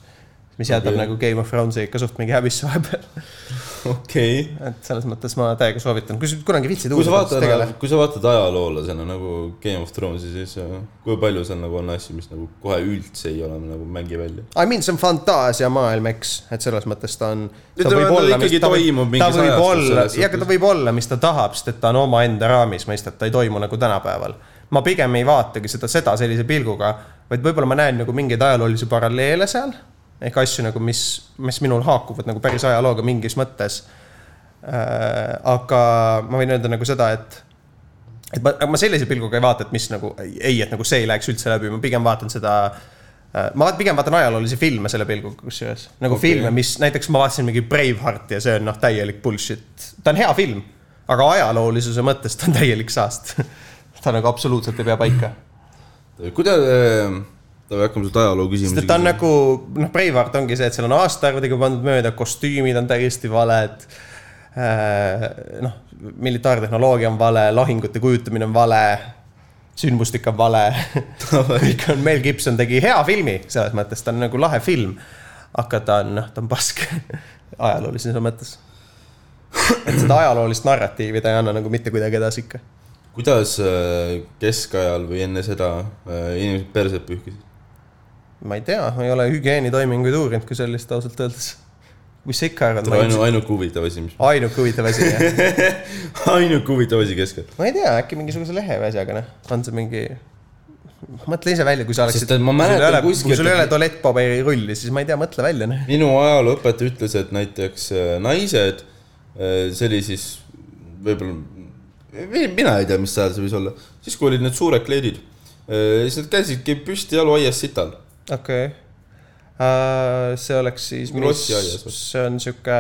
mis jätab Okei. okay. nagu Game of Thrones'i ikka suht mingi häbisse vahepeal . [laughs] okei . et selles mõttes ma täiega soovitan , kui sa kunagi viitsid kui sa uurida , siis tegele vaatad , kui sa vaatad ajaloolasena nagu Game of Thrones'i , siis äh, kui palju seal nagu on asju , mis nagu kohe üldse ei ole nagu mängi välja . I mean , see on fantaasiamaailm , eks , et selles mõttes ta on . Ja ta- ta ikkagi toimub mingis ajastus selles ja aga ta suhtes. võib olla , mis ta tahab , sest et ta on omaenda raamis , mõistad , ta ei toimu nagu tänapäeval . ma pigem ei vaatagi seda , seda sellise pilguga , vaid võib-olla ma näen nagu mingeid ajaloolisi paralleele seal ehk asju nagu , mis , mis minul haakuvad nagu päris ajalooga mingis mõttes . Äh, aga ma võin öelda nagu seda , et et ma , ma sellise pilguga ei vaata , et mis nagu ei , et nagu see ei läheks üldse läbi , ma pigem vaatan seda . ma vaat- pigem vaatan ajaloolisi filme selle pilguga kusjuures , Okei. nagu okay. filme , mis näiteks ma vaatasin mingi Bravehearti ja see on noh , täielik bullshit . ta on hea film , aga ajaloolisuse mõttes ta on täielik saast . [laughs] ta nagu absoluutselt ei pea paika . kuidas , äh, hakkame seda ajaloo sest et ta on küsimusi . nagu noh , Braveheart ongi see , et seal on aastaarvudega pandud mööda , kostüümid on täiesti valed . noh , militaartehnoloogia on vale , lahingute kujutamine on vale , sündmustik on vale . kõik on , Mel Gibson tegi hea filmi selles mõttes , ta on nagu lahe film . aga ta on noh , ta on pask [laughs] ajaloolises mõttes . et seda ajaloolist narratiivi ta ei anna nagu mitte kuidagi edasi ikka . kuidas äh, keskajal või enne seda äh, inimesed perset pühkisid ? ma ei tea , ma ei ole hügieenitoiminguid uurinud kui sellist ausalt öeldes . mis sa ikka arvad ? ainu- , ainuke huvitav asi , mis , [laughs] ainuke huvitav asi , jah . ainuke huvitav asi keskajal . ma ei tea , äkki mingisuguse lehe või asjaga , noh , on see mingi . mõtle ise välja , kui sa oleksid . Sest et ma mäletan kuskilt, kui sul ei et- ole tualettpaberirulli , siis ma ei tea , mõtle välja , noh . minu ajalooõpetaja ütles , et näiteks äh, naised , see oli siis võib-olla , mina ei tea , mis äh, ajal see võis olla , siis kui olid need suured kleidid , siis nad käisidki püsti jaluaias sital . okei okay. . see oleks siis , Grossi aias või? see on sihuke ,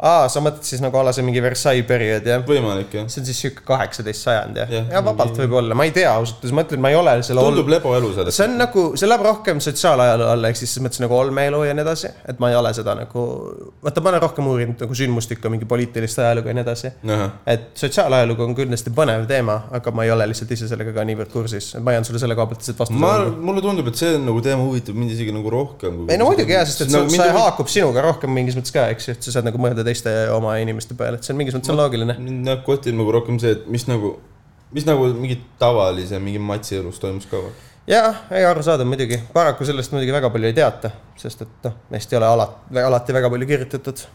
aa , sa mõtled siis nagu ala see mingi Versailles periood jah ? võimalik jah . see on siis sihuke kaheksateist sajand jah Jah, yeah, ? ja vabalt võib-olla , ma ei tea ausalt öeldes , ma ütlen , ma ei ole selle ol- tundub , lebo elu sellest see . on nagu , see läheb rohkem sotsiaalajaloo alla , ehk siis selles mõttes nagu olmeelu ja nii edasi , et ma ei ole seda nagu , vaata , ma olen rohkem uurinud nagu sündmustikku , mingi poliitilist ajalugu ja nii edasi . et sotsiaalajalugu on kindlasti põnev teema , aga ma ei ole lihtsalt ise sellega ka niivõrd kursis , et ma jään sulle selle koha pealt lihtsalt vastuse ma andma ., mulle tundub , et see on nagu teema huvitab mind isegi nagu rohkem . ei no muidugi jaa , sest et nagu see mind huvitab- haakub sinuga rohkem mingis mõttes ka , eks ju , et sa saad nagu mõelda teiste oma inimeste peale , et see on mingis mõttes on loogiline . mind nagu kotib nagu rohkem see , et mis nagu , mis nagu mingi tavalise mingi matsi elus toimus ka . jah , ei arusaadav muidugi , paraku sellest muidugi väga palju ei teata , sest et noh , neist ei ole alati , alati väga palju kirjutatud .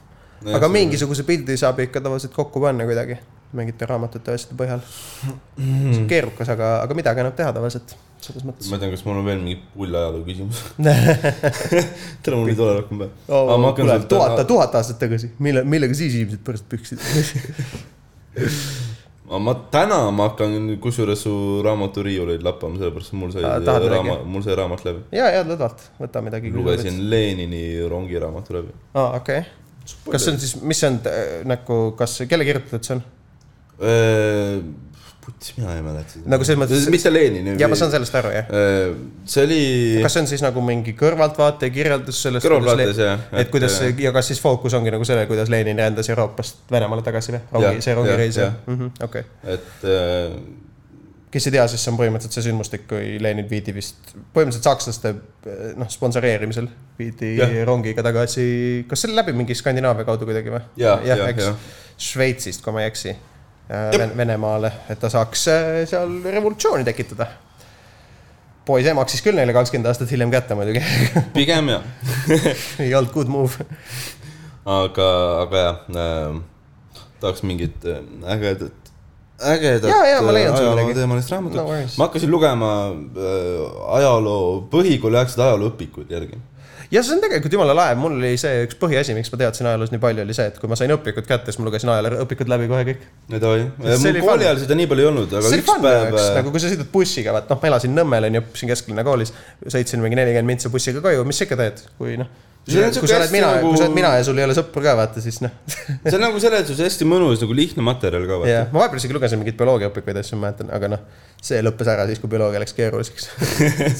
aga mingisuguse pildi saab ikka tavaliselt kokku panna kuidagi mingite raamatute ja asjade põhjal . see on keerukas , aga , aga midagi annab teha tavaliselt selles [laughs] mõttes . ma ei tea , kas mul on veel mingi pull ajaloo küsimus . [laughs] [laughs] tere , mul ei tule rohkem peale . Aga ma hakkan Oh, kuule , sealt- tuhat , tuhat aastat tagasi , mille , millega siis inimesed pärast [laughs] püksid ? [laughs] ma täna ma hakkan kusjuures su raamatu riiuleid lappama , sellepärast et mul sai Aa, tahad raama- midagi? mul sai raamat läbi . ja , ja lõdvalt , võta midagi . lugesin . Lenini rongiraamatu läbi . aa , okei okay. . kas see on siis , mis see on äh, nagu , kas , kelle kirjutatud see on ? Puts , Äh, mina ei mäleta seda . Nagu selles mõttes- mis see Lenini ? ja ma saan . sellest aru , jah . Äh, see oli . kas see on siis nagu mingi kõrvaltvaate kirjeldus sellest ? kõrvalplaates jah . äh, et kuidas see ja kas siis fookus ongi nagu sellel , kuidas Lenin rändas Euroopast Venemaale tagasi või ? Jah, rongi , see rongireis jah, jah ? okei . et äh, kes ei tea , siis see on põhimõtteliselt see sündmustik , kui Lenin viidi vist põhimõtteliselt sakslaste eh, noh , sponsoreerimisel viidi Jah. rongiga tagasi , kas see oli läbi mingi Skandinaavia kaudu kuidagi või ? Jah, jah, eks jah. . Šveitsist , kui ma ei eksi , Venemaale , et ta saaks eh, seal revolutsiooni tekitada . poisi ema maksis küll neile kakskümmend aastat hiljem kätte muidugi , [laughs] äh, pigem jah , ei olnud good move . aga , aga jah äh, , tahaks mingit äh, ägedat , ägedat Jaa, jaa, ma leian sulle midagi. teemalist raamatut No no worries. . ma hakkasin lugema äh, ajaloo , põhikooli aegseid ajalooõpikuid järgi . ja see on tegelikult jumala lahe , mul oli see üks põhiasi , miks ma teadsin ajaloos nii palju , oli see , et kui ma sain õpikud kätte , siis ma lugesin ajalooõpikud läbi kohe kõik . Need oli , See mul oli fun. kooli ajal seda nii palju ei olnud , aga see oli üks fun päev äh, päev... , nagu kui sa sõidad bussiga , vaat noh , ma elasin Nõmmel onju , õppisin kesklinna koolis , sõitsin mingi nelikümmend mintsa bussiga koju , mis sa ikka teed , kui noh . kui See on siuke sa oled hästi mina nagu... , nagu- kui sa oled mina ja sul ei ole sõpru ka vaata , siis noh . [laughs] see on nagu selles suhtes hästi mõnus nagu lihtne materjal ka vaata ja ma vahepeal isegi lugesin mingeid bioloogiaõpikuid ja asju , ma mäletan , aga noh , see lõppes ära siis , kui bioloogia läks keeruliseks .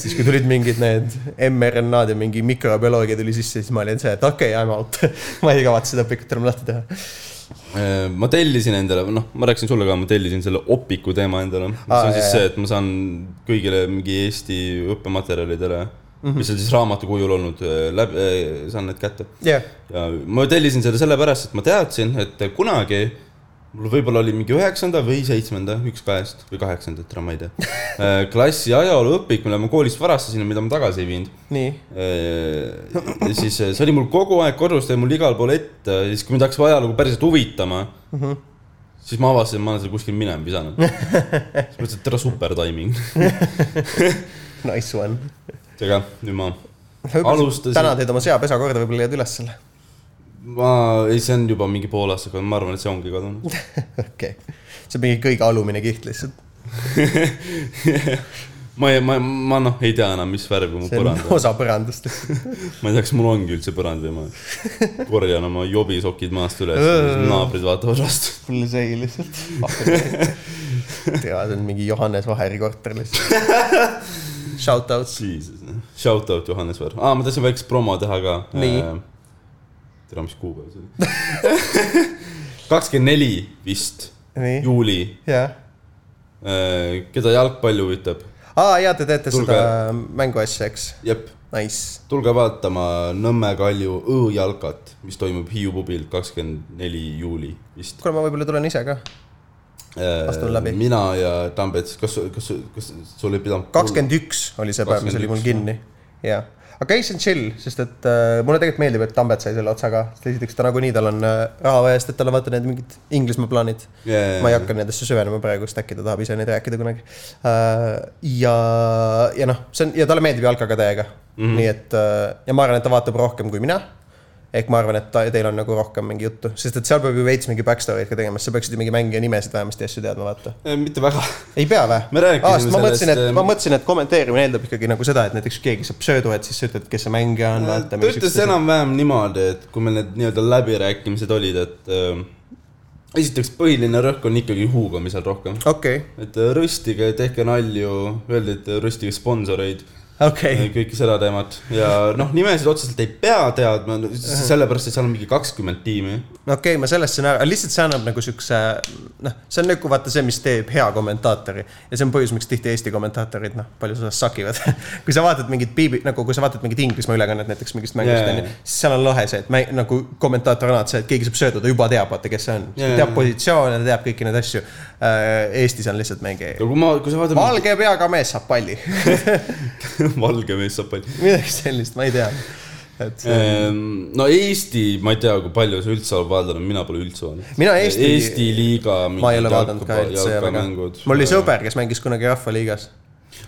siis , kui tulid mingid need mRNA-d ja mingi mikrobioloogia tuli sisse , siis ma olin see , et okei okay, , I m out . [laughs] ma ei kavatse seda õpikut enam lahti teha . yeah. . Äh, ma tellisin endale , noh , ma rääkisin sulle ka , ma tellisin selle opiku teema endale . see Aa, on siis Ah, jaa, see , et ma saan kõigile mingi Eesti õppematerjalidele mm , Mhm. -hmm. mis on siis raamatu kujul olnud , läbi , saan need kätte jah yeah. ja ma tellisin selle sellepärast , et ma teadsin , et kunagi mul võib-olla oli mingi üheksanda või seitsmenda , üks kahest või kaheksandat , ma ei tea , klassi ajalooõpik , mille ma koolist varastasin ja mida ma tagasi ei viinud . nii , Äh, ja siis see oli mul kogu aeg kodus , ta oli mul igal pool ette , siis kui mind hakkas ajalugu päriselt huvitama mm , -hmm. siis ma avastasin , et ma olen selle kuskil minema visanud . siis mõtlesin , et tere , super timing . nice one . seega nüüd ma Alustasin- täna teed oma seapesa korda , võib-olla leiad üles selle . [laughs] ma , ei , see on juba mingi pool aastat , ma arvan , et see ongi kadunud . [laughs] okei okay. , see on mingi kõige alumine kiht lihtsalt . ma ei , ma , ma noh , ei tea enam , mis värvi mu see on põrand on . osa põrandast lihtsalt . ma ei tea , kas mul ongi üldse põrand või ma korjan oma jobisokid maast üles , siis naabrid vaatavad vastu . mul ei segi [laughs] lihtsalt . tea , see on mingi Johannes Vaheri korter lihtsalt . Shout out . Jesus , shout out Johannes Vaher ah, . ma tahtsin väikest promo teha ka . Nii. tere , mis kuupäev see oli ? [laughs] kakskümmend neli vist , nii , juuli . jah . keda jalgpall huvitab , aa , ja te teete Tulge. Tulge. seda mänguasja , eks ? jep , Nice . tulge vaatama Nõmme Kalju õõjalkat , mis toimub Hiiu pubil kakskümmend neli juuli vist . kuule , ma võib-olla tulen ise ka . Astun läbi. mina ja Tambets , kas , kas , kas sul ei pidanud ? kakskümmend üks oli see päev , mis oli mul 21, kinni . jaa , aga ei , see on chill , sest et äh, mulle tegelikult meeldib , et Tambet sai selle otsa ka , sest esiteks ta nagunii , tal on äh, raha eest , et tal on vaata need mingid Inglismaa plaanid . yeah, ma ei hakka nendesse süvenema praegu , sest äkki ta tahab ise neid rääkida kunagi . ja , Mhm. äh, ja noh , see on ja talle meeldib jalka ka täiega mm . -hmm. nii et äh, ja ma arvan , et ta vaatab rohkem kui mina . ehk ma arvan , et ta, teil on nagu rohkem mingi juttu , sest et seal peab ju veits mingi backstory'd ka tegema , sa peaksid ju mingi mängija nimesid vähemasti asju teadma , vaata . Ehm, mitte väga . ei pea või ? Me rääkisime ma sellest, mõtlesin , et ähm, ma mõtlesin , et kommenteerimine eeldab ikkagi nagu seda , et näiteks keegi saab söödu , et siis sa ütled , kes see mängija on , Äh, ta vaata . ütles enam-vähem niimoodi , et kui meil need nii-öelda läbirääkimised olid , et ähm, esiteks põhiline rõhk on ikkagi huugamisel rohkem . okei , et äh, röstige , tehke nalju , öeldi , et röstige sponsoreid , okei , kõike seda teemat ja noh , nimesid otseselt ei pea teadma , Äh. sellepärast et seal on mingi kakskümmend tiimi . okei , ma sellest sain aru , lihtsalt see annab nagu siukse , noh , see on nagu vaata see , mis teeb hea kommentaatori ja see on põhjus , miks tihti Eesti kommentaatorid , noh , paljus osas sakivad . [laughs] kui sa vaatad mingit piibi , nagu kui sa vaatad mingit Inglismaa ülekannet näiteks mingist mängust Jaa, onju jaa. , siis seal on lahe see , et mä- , nagu kommentaator annab see , et keegi saab sööda , ta juba teab , vaata , kes see on , Jaa, jaa, teab jaa. positsioone , ta teab kõiki neid asju . Eestis on lihtsalt mingi ja kui ma , kui sa vaatad valge peaga mees saab palli , [laughs] [laughs] valge mees saab palju . midagi sellist , ma ei tea , et Ähm, no Eesti , ma ei tea , kui palju sa üldse oled vaadanud , mina pole üldse vaadanud . Mina Eesti- Eesti liiga . ma ei ole vaadanud ka üldse väga . mul oli sõber , kes mängis kunagi Rahvaliigas .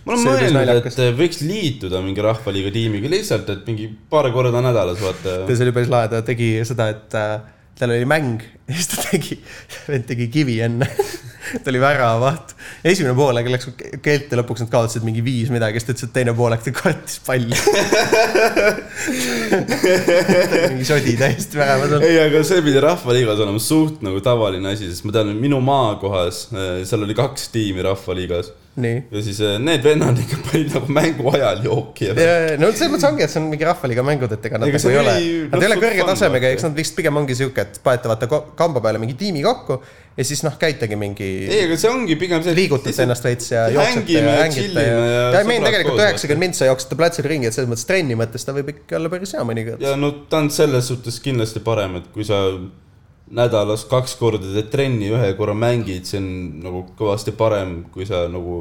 ma olen See oli päris mõelnud , naljakas. et eh, võiks liituda mingi Rahvaliiga tiimiga lihtsalt , et mingi paar korda nädalas vaata . [laughs] ja see oli päris lahe , ta tegi seda , et äh, tal oli mäng [laughs] ja siis ta tegi , vend tegi kivi enne . [laughs] ta oli väravavaht . esimene poolek läks keelt ja lõpuks nad kaotasid mingi viis midagi , siis ta ütles , et teine poolek ta kartis palli . [laughs] mingi sodi täiesti väravas on . ei , aga see pidi Rahvaliigas olema suht nagu tavaline asi , sest ma tean , et minu maakohas , seal oli kaks tiimi Rahvaliigas nii . ja siis eh, need vennad ikka panid nagu mängu ajal jooki ja no selles mõttes ongi , et see on mingi Rahvaliiga mängud , et ega nad Ega nagu see ei ole oli , nad ei ole suht kõrge fun, tasemega , vaata. eks nad vist pigem ongi sihuke , et panete vaata ko- kamba peale mingi tiimi kokku ja siis noh , käitegi mingi . ei , aga see ongi pigem see . liigutate ennast veits ja jooksete hängime, ja hängite ja chillime ja . ja ei mean sõbrad tegelikult koos üheksakümmend mintsa jooksete platsil ringi , et selles mõttes trenni mõttes ta võib ikka olla päris hea mõnikord . ja no ta on selles suhtes kindlasti parem , et kui sa nädalas kaks korda teed trenni , ühe korra mängid , see on nagu kõvasti parem , kui sa nagu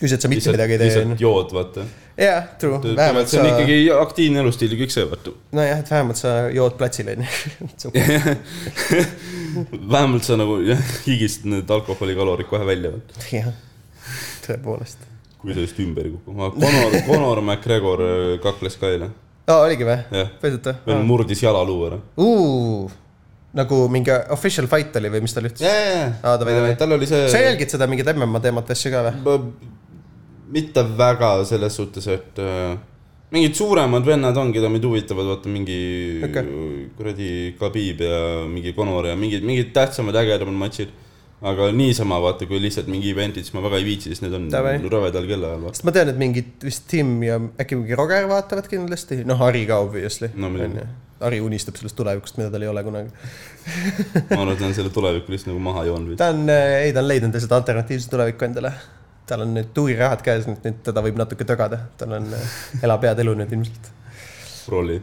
küsid , et sa mitte midagi ei tee , lihtsalt onju . jood , vaata . jaa , true , vähemalt see sa on , ikkagi aktiivne elustiil , kõik söövad . nojah , et vähemalt sa jood platsil , [laughs] onju . vähemalt sa nagu [laughs] jah, higistad need alkoholikalorid kohe välja , jah , tõepoolest . kui sa just ümber ei kuku . Conor , [laughs] Conor McGregor öö, kakles ka eile , aa , oligi või Jah. ? päriselt veel või ? murdis jalaluu ära . nagu mingi official fight oli või mis tal ütles ? Aa, ta veel- tal oli see . sa jälgid seda mingit MM-a teemat asju ka või ? Ma- mitte väga selles suhtes , et äh, mingid suuremad vennad on , keda meid huvitavad , vaata mingi Okei. kuradi Khabib ja mingi Conor ja mingid , mingid tähtsamad , ägedamad matšid . aga niisama vaata , kui lihtsalt mingi event'id , siis ma väga ei viitsi , sest need Davai. on nagu rõvedal kellaajal vaata . sest ma tean , et mingid vist Tim ja äkki mingi Roger vaatavad kindlasti , noh , Ari ka obviously No muidugi. onju. Ari unistab sellest tulevikust , mida tal ei ole kunagi . ma arvan , et ta on selle tuleviku lihtsalt nagu maha joonud veits . ta on , ei , ta on leidnud lihtsalt alternatiivse tuleviku endale . tal on nüüd tuurihahad käes , nüüd nüüd teda võib natuke tögada , tal on , elab head elu nüüd ilmselt . [laughs] rolli .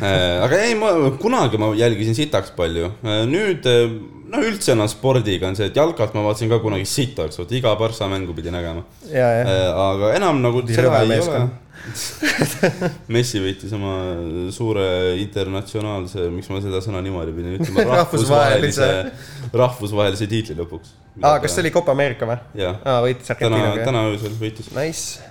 aga ei , ma kunagi ma jälgisin sitaks palju . nüüd äh, no üldse enam spordiga on see , et jalkat ma vaatasin ka kunagi sitaks , vaata iga parssa mängu pidi nägema . ja , ja , Äh, aga enam nagu Nii seda rõve ei ole meeskond. . [laughs] Messi võitis oma suure internatsionaalse , miks ma seda sõna niimoodi pidin ütlema , [laughs] Rahvusvahelise. rahvusvahelise , rahvusvahelise tiitli lõpuks . aa , kas see oli Copa Ameerika või ? jah , aa , võitis täna , Argentiinaga , täna öösel võitis . jah ? Nice ,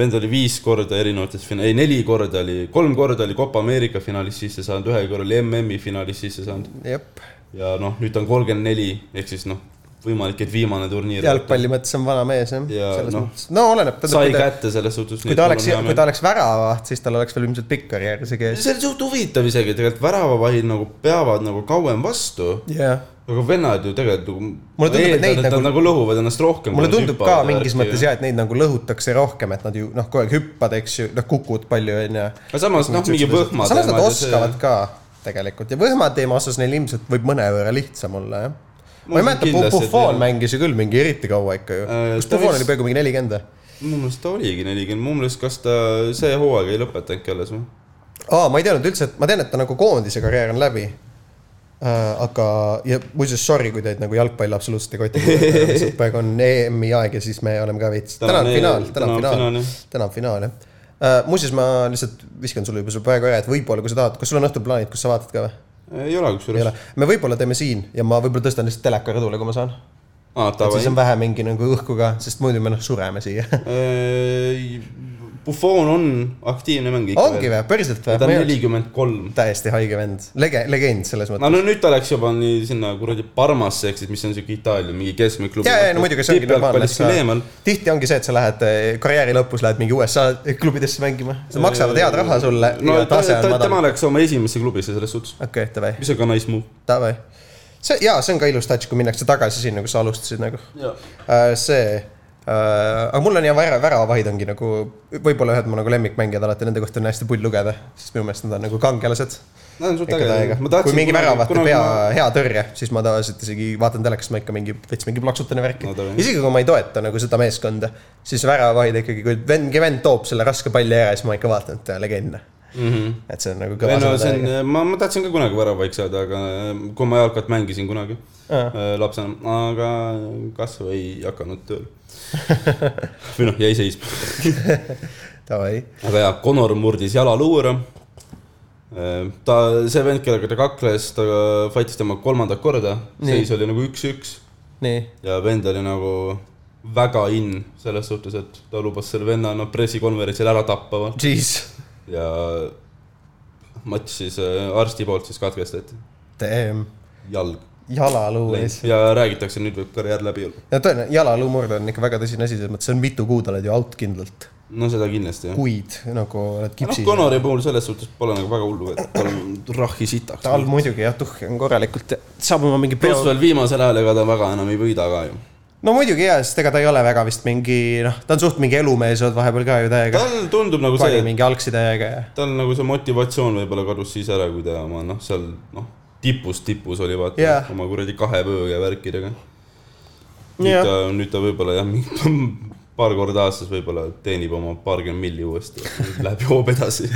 vend oli viis korda erinevates fina- , ei neli korda oli , kolm korda oli Copa Ameerika finaalis sisse saanud , ühe korra oli MM-i finaalis sisse saanud jep . ja noh , nüüd ta on kolmkümmend neli , ehk siis noh , võimalik , et viimane turniir . jalgpalli mõttes on vana mees , jah . Ja selles noh, mõttes , no oleneb . sai kui kätte selles suhtes . ta oleks , kui ta oleks väravavaht , siis tal oleks veel ilmselt pikk karjäär isegi ees . see on suht huvitav isegi tegelikult , väravavahid nagu peavad nagu kauem vastu , jah aga vennad ju tegelikult nagu . Mulle tundub, et neid nagu . Nad nagu- nagu lõhuvad ennast rohkem . mulle tundub ka mingis mõttes . jah , et neid nagu lõhutakse rohkem , et nad ju noh , kogu aeg hüppavad , eks ju , noh kukud palju onju . aga samas noh , mingi võhma . samas nad oskavad ka tegelikult ja võhma teema osas neil ilmselt võib mõnevõrra lihtsam olla jah . ma Ma ei usun mäleta , kindlasti, et Buffon jah. mängis ju küll mingi eriti kaua ikka ju Äh, . kas ta Buffon vist- oli peaaegu mingi nelikümmend või ? minu meelest ta oligi nelikümmend , mu meelest , kas ta see hooaeg ei lõpetanudki alles või ? aa , ma ei teadnud üldse , et ma tean , et ta nagu koondise karjäär on läbi . aga , ja muuseas , sorry , kui teid nagu jalgpall absoluutselt ei koti . lihtsalt praegu on EM-i aeg ja siis me oleme ka veits , täna on finaal , täna on finaal . täna on finaal jah uh, . muuseas , ma lihtsalt viskan sulle juba su praegu ära , et võib-olla kui sa tahad , kas sul on õhtul plaanid , kus sa vaatad ka või ? ei ole ei kusjuures ole ., me võib-olla teeme siin ja ma võib-olla tõstan lihtsalt teleka rõdule , kui ma saan . aa , et siis davai on . vähe mingi nagu õhku ka , sest muidu me noh sureme siia . Äh, Buffon on aktiivne mängija . ongi või , päriselt ta on või ? nelikümmend kolm . täiesti haige vend , lege- , legend selles mõttes . no no nüüd ta läks juba nii sinna kuradi Parmasse , ehk siis mis on siuke Itaalia mingi keskmine klubi . ja , ja no muidugi see ongi normaalne , et sa normaalne . tihti ongi see , et sa lähed eh, karjääri lõpus , lähed mingi USA klubidesse mängima , sa maksavad head raha sulle Äh, no ja ta, Äh, tase on ta, tema madal . läks oma esimesse klubisse selles suhtes , okei , davai , mis on ka nice move . davai . see , jaa , see on ka ilus touch , kui minnakse tagasi sinna , kus sa alustasid nagu . see , aga mul on ja vära , väravahid ongi nagu võib-olla ühed mu nagu lemmikmängijad alati , nende kohta on hästi pull lugeda , sest minu meelest nad on nagu kangelased . Nad on suht ägedad . kui mingi väravat ei pea hea tõrje , siis ma tavaliselt isegi vaatan telekast , ma ikka mingi veits mingi plaksutan ja värki No ta no, on . nii. isegi kui ma ei toeta nagu seda meeskonda , siis väravahid ikkagi , kui vend , vend toob selle raske palli ära , siis ma ikka vaatan , et legend . et see on nagu Mhm. ei kõva no sõna see täiega. on , ma , ma tahtsin ka kunagi väravaiks saada , aga äh, kui ma jalkat mängisin kunagi Aa. äh, lapsena , aga kasv ei hakanud [laughs] tööle . või noh , jäi seisma . Davai , aga jaa , Connor murdis jalaluu ära . ta , see vend , kellega ta kakles , ta äh, fight'is temaga kolmandat korda , Nii. seis oli nagu üks-üks nii , ja vend oli nagu väga in selles suhtes , et ta lubas selle venna no, pressikonverentsil ära tappa va? jeez , ja matš siis äh, arsti poolt siis katkestati , damn , jalg . jalaluu ees . ja räägitakse , nüüd võib karjäär läbi olla . no tõenäoliselt jalaluumurd on ikka väga tõsine asi , selles mõttes , see on mitu kuud oled ju out kindlalt , no seda kindlasti jah . kuid nagu oled noh , kipsis no, . Connori puhul selles suhtes pole nagu väga hullu , et tal on rahi sitaks . tal muidugi jah , tuhh on korralikult , saab oma mingi peo pluss . veel viimasel ajal , ega ta väga enam ei võida ka ju . no muidugi jaa , sest ega ta ei ole väga vist mingi noh , ta on suht mingi elumees olnud vahepeal ka ju täiega . tal tundub nagu pani see , et mingi algsi täiega ja . tal nagu see motivatsioon võib-olla kadus siis ära , kui ta oma noh , seal noh , tipus tipus oli vaata Jah. oma kuradi kahe vööga ja värkidega . nüüd Jah. ta , nüüd ta võib-olla jah , [laughs] paar korda aastas võib-olla teenib oma paarkümmend milli uuesti , läheb joob [laughs] edasi .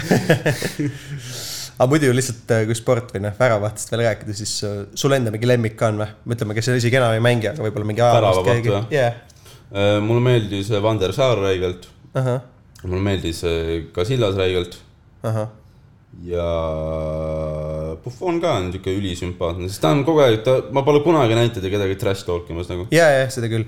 aga muidu ju lihtsalt , kui sport või noh , väravahtist veel rääkida , siis äh, sul enda mingi lemmik ka on või ? ütleme , kes isegi enam ei mängi , aga võib-olla mingi ajaloost Väravavaht keegi või? . jah , Äh, mulle meeldis Vander Saar räigelt , ahah , mulle meeldis äh, Casillas räigelt ahah , ja Buffon ka on niisugune ülisümpaatne , sest ta on kogu aeg , ta , ma pole kunagi näinud teda kedagi trash talk imas nagu . ja , ja seda küll .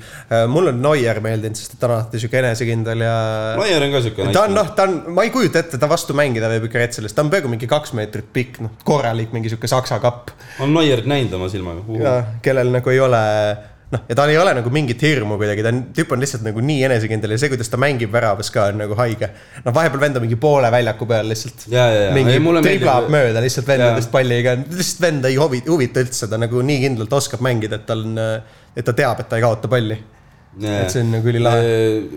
mul on Neuer meeldinud , sest ta on alati sihuke enesekindel ja . Laier on ka niisugune . ta on noh , ta on , ma ei kujuta ette , ta vastu mängida võib ikka retseles , ta on peaaegu mingi kaks meetrit pikk , noh , korralik mingi sihuke saksa kapp on Neuerit näinud oma silmaga . ja kellel nagu ei ole noh , ja tal ei ole nagu mingit hirmu kuidagi , ta on , tüüp on lihtsalt nagu nii enesekindel ja see , kuidas ta mängib väravas ka on nagu haige . noh , vahepeal vend on mingi poole väljaku peal lihtsalt . ja , ja , ja . mingi triblab . mööda lihtsalt vendadest Jaa. palliga , lihtsalt vend ei hovi- huvita üldse , ta nagu nii kindlalt oskab mängida , et tal on , et ta teab , et ta ei kaota palli . et see on nagu ülilahe ,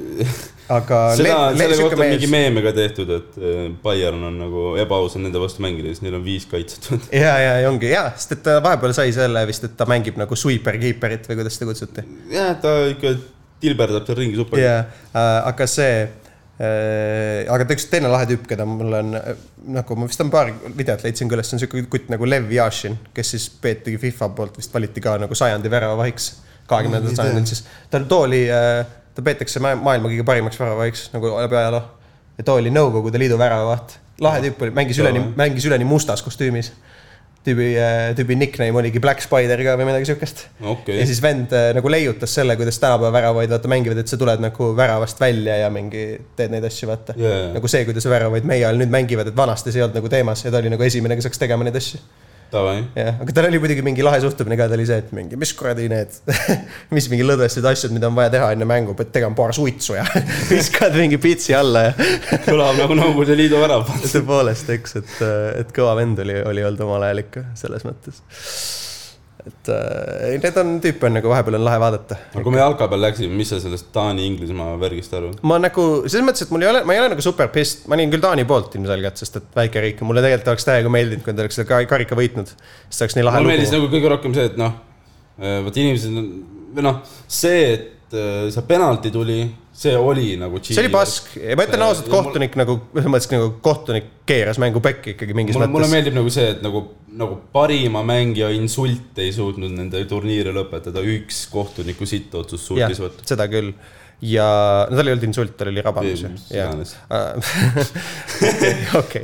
[laughs] aga . seda , selle kohta on mingi meeme ka tehtud , et eh, Bayern on nagu ebaaus on nende vastu mängida , sest neil on viis kaitset . [laughs] ja , ja , ja ongi ja , sest et ta vahepeal sai selle vist , et ta mängib nagu sweeper-keeperit või kuidas seda kutsuti . jah , ta ikka tilberdab seal ringi super . ja , aga see , aga ta üks teine lahe tüüp , keda mul on äh, nagu ma vist on paar videot leidsin ka üles , see on siuke kutt nagu Lev Yashin , kes siis peetigi FIFA poolt vist valiti ka nagu sajandi väravavahiks , kahekümnendal sajandil siis . tal too oli , ta peetakse ma- maailma kõige parimaks väravavahiks nagu läbi ajaloo . ja too oli Nõukogude Liidu väravavaht , lahe tüüp oli , mängis üleni , mängis üleni mustas kostüümis tüübi , tüübi nickname oligi Black Spider ka või midagi siukest ja okei , siis vend äh, nagu leiutas selle , kuidas tänapäeva väravaid vaata mängivad , et sa tuled nagu väravast välja ja mingi teed neid asju , vaata Jaa, jaa. nagu see , kuidas väravaid meie ajal nüüd mängivad , et vanasti see ei olnud nagu teemas ja ta oli nagu esimene , kes hakkas tegema neid asju . davai . jah , aga tal oli muidugi mingi lahe suhtumine ka , ta oli see , et mingi , mis kuradi need , [laughs] mis mingi lõdvestused asjad , mida on vaja teha enne mängu , pead tegema paar suitsu ja [laughs] viskad mingi pitsi alla ja [laughs] kõlab nagu Nõukogude Liidu värav . tõepoolest , eks , et , et kõva vend oli , oli olnud omal ajal ikka selles mõttes . et äh, ei, need on , tüüpe on nagu vahepeal on lahe vaadata aga kui me jalka peal läksime , mis sa sellest Taani-Inglismaa värgist arvad ? ma nagu selles mõttes , et mul ei ole , ma ei ole nagu super pissed , ma olin küll Taani poolt ilmselgelt , sest et väike riik ja mulle tegelikult oleks täiega meeldinud , kui nad oleks selle ka- karika võitnud . siis oleks nii lahe mulle meeldis lugu . nagu kõige rohkem see , et noh , vot inimesed on , või noh , see , et eh, see penalti tuli , see oli nagu . see oli pask , ma ütlen Ja- ausalt , ja mul- kohtunik nagu , selles mõttes nagu kohtunik keeras mängu pekki ikkagi mingis mulle , mulle mõttes . meeldib nagu see , et nagu , nagu parima mängija insult ei suutnud nende turniiri lõpetada , üks kohtuniku sittotsus jah suutis , vot . seda küll . ja , no tal ei olnud insult , tal oli rabamus Ei, ju mis . iganes. Ah, [laughs] okei ,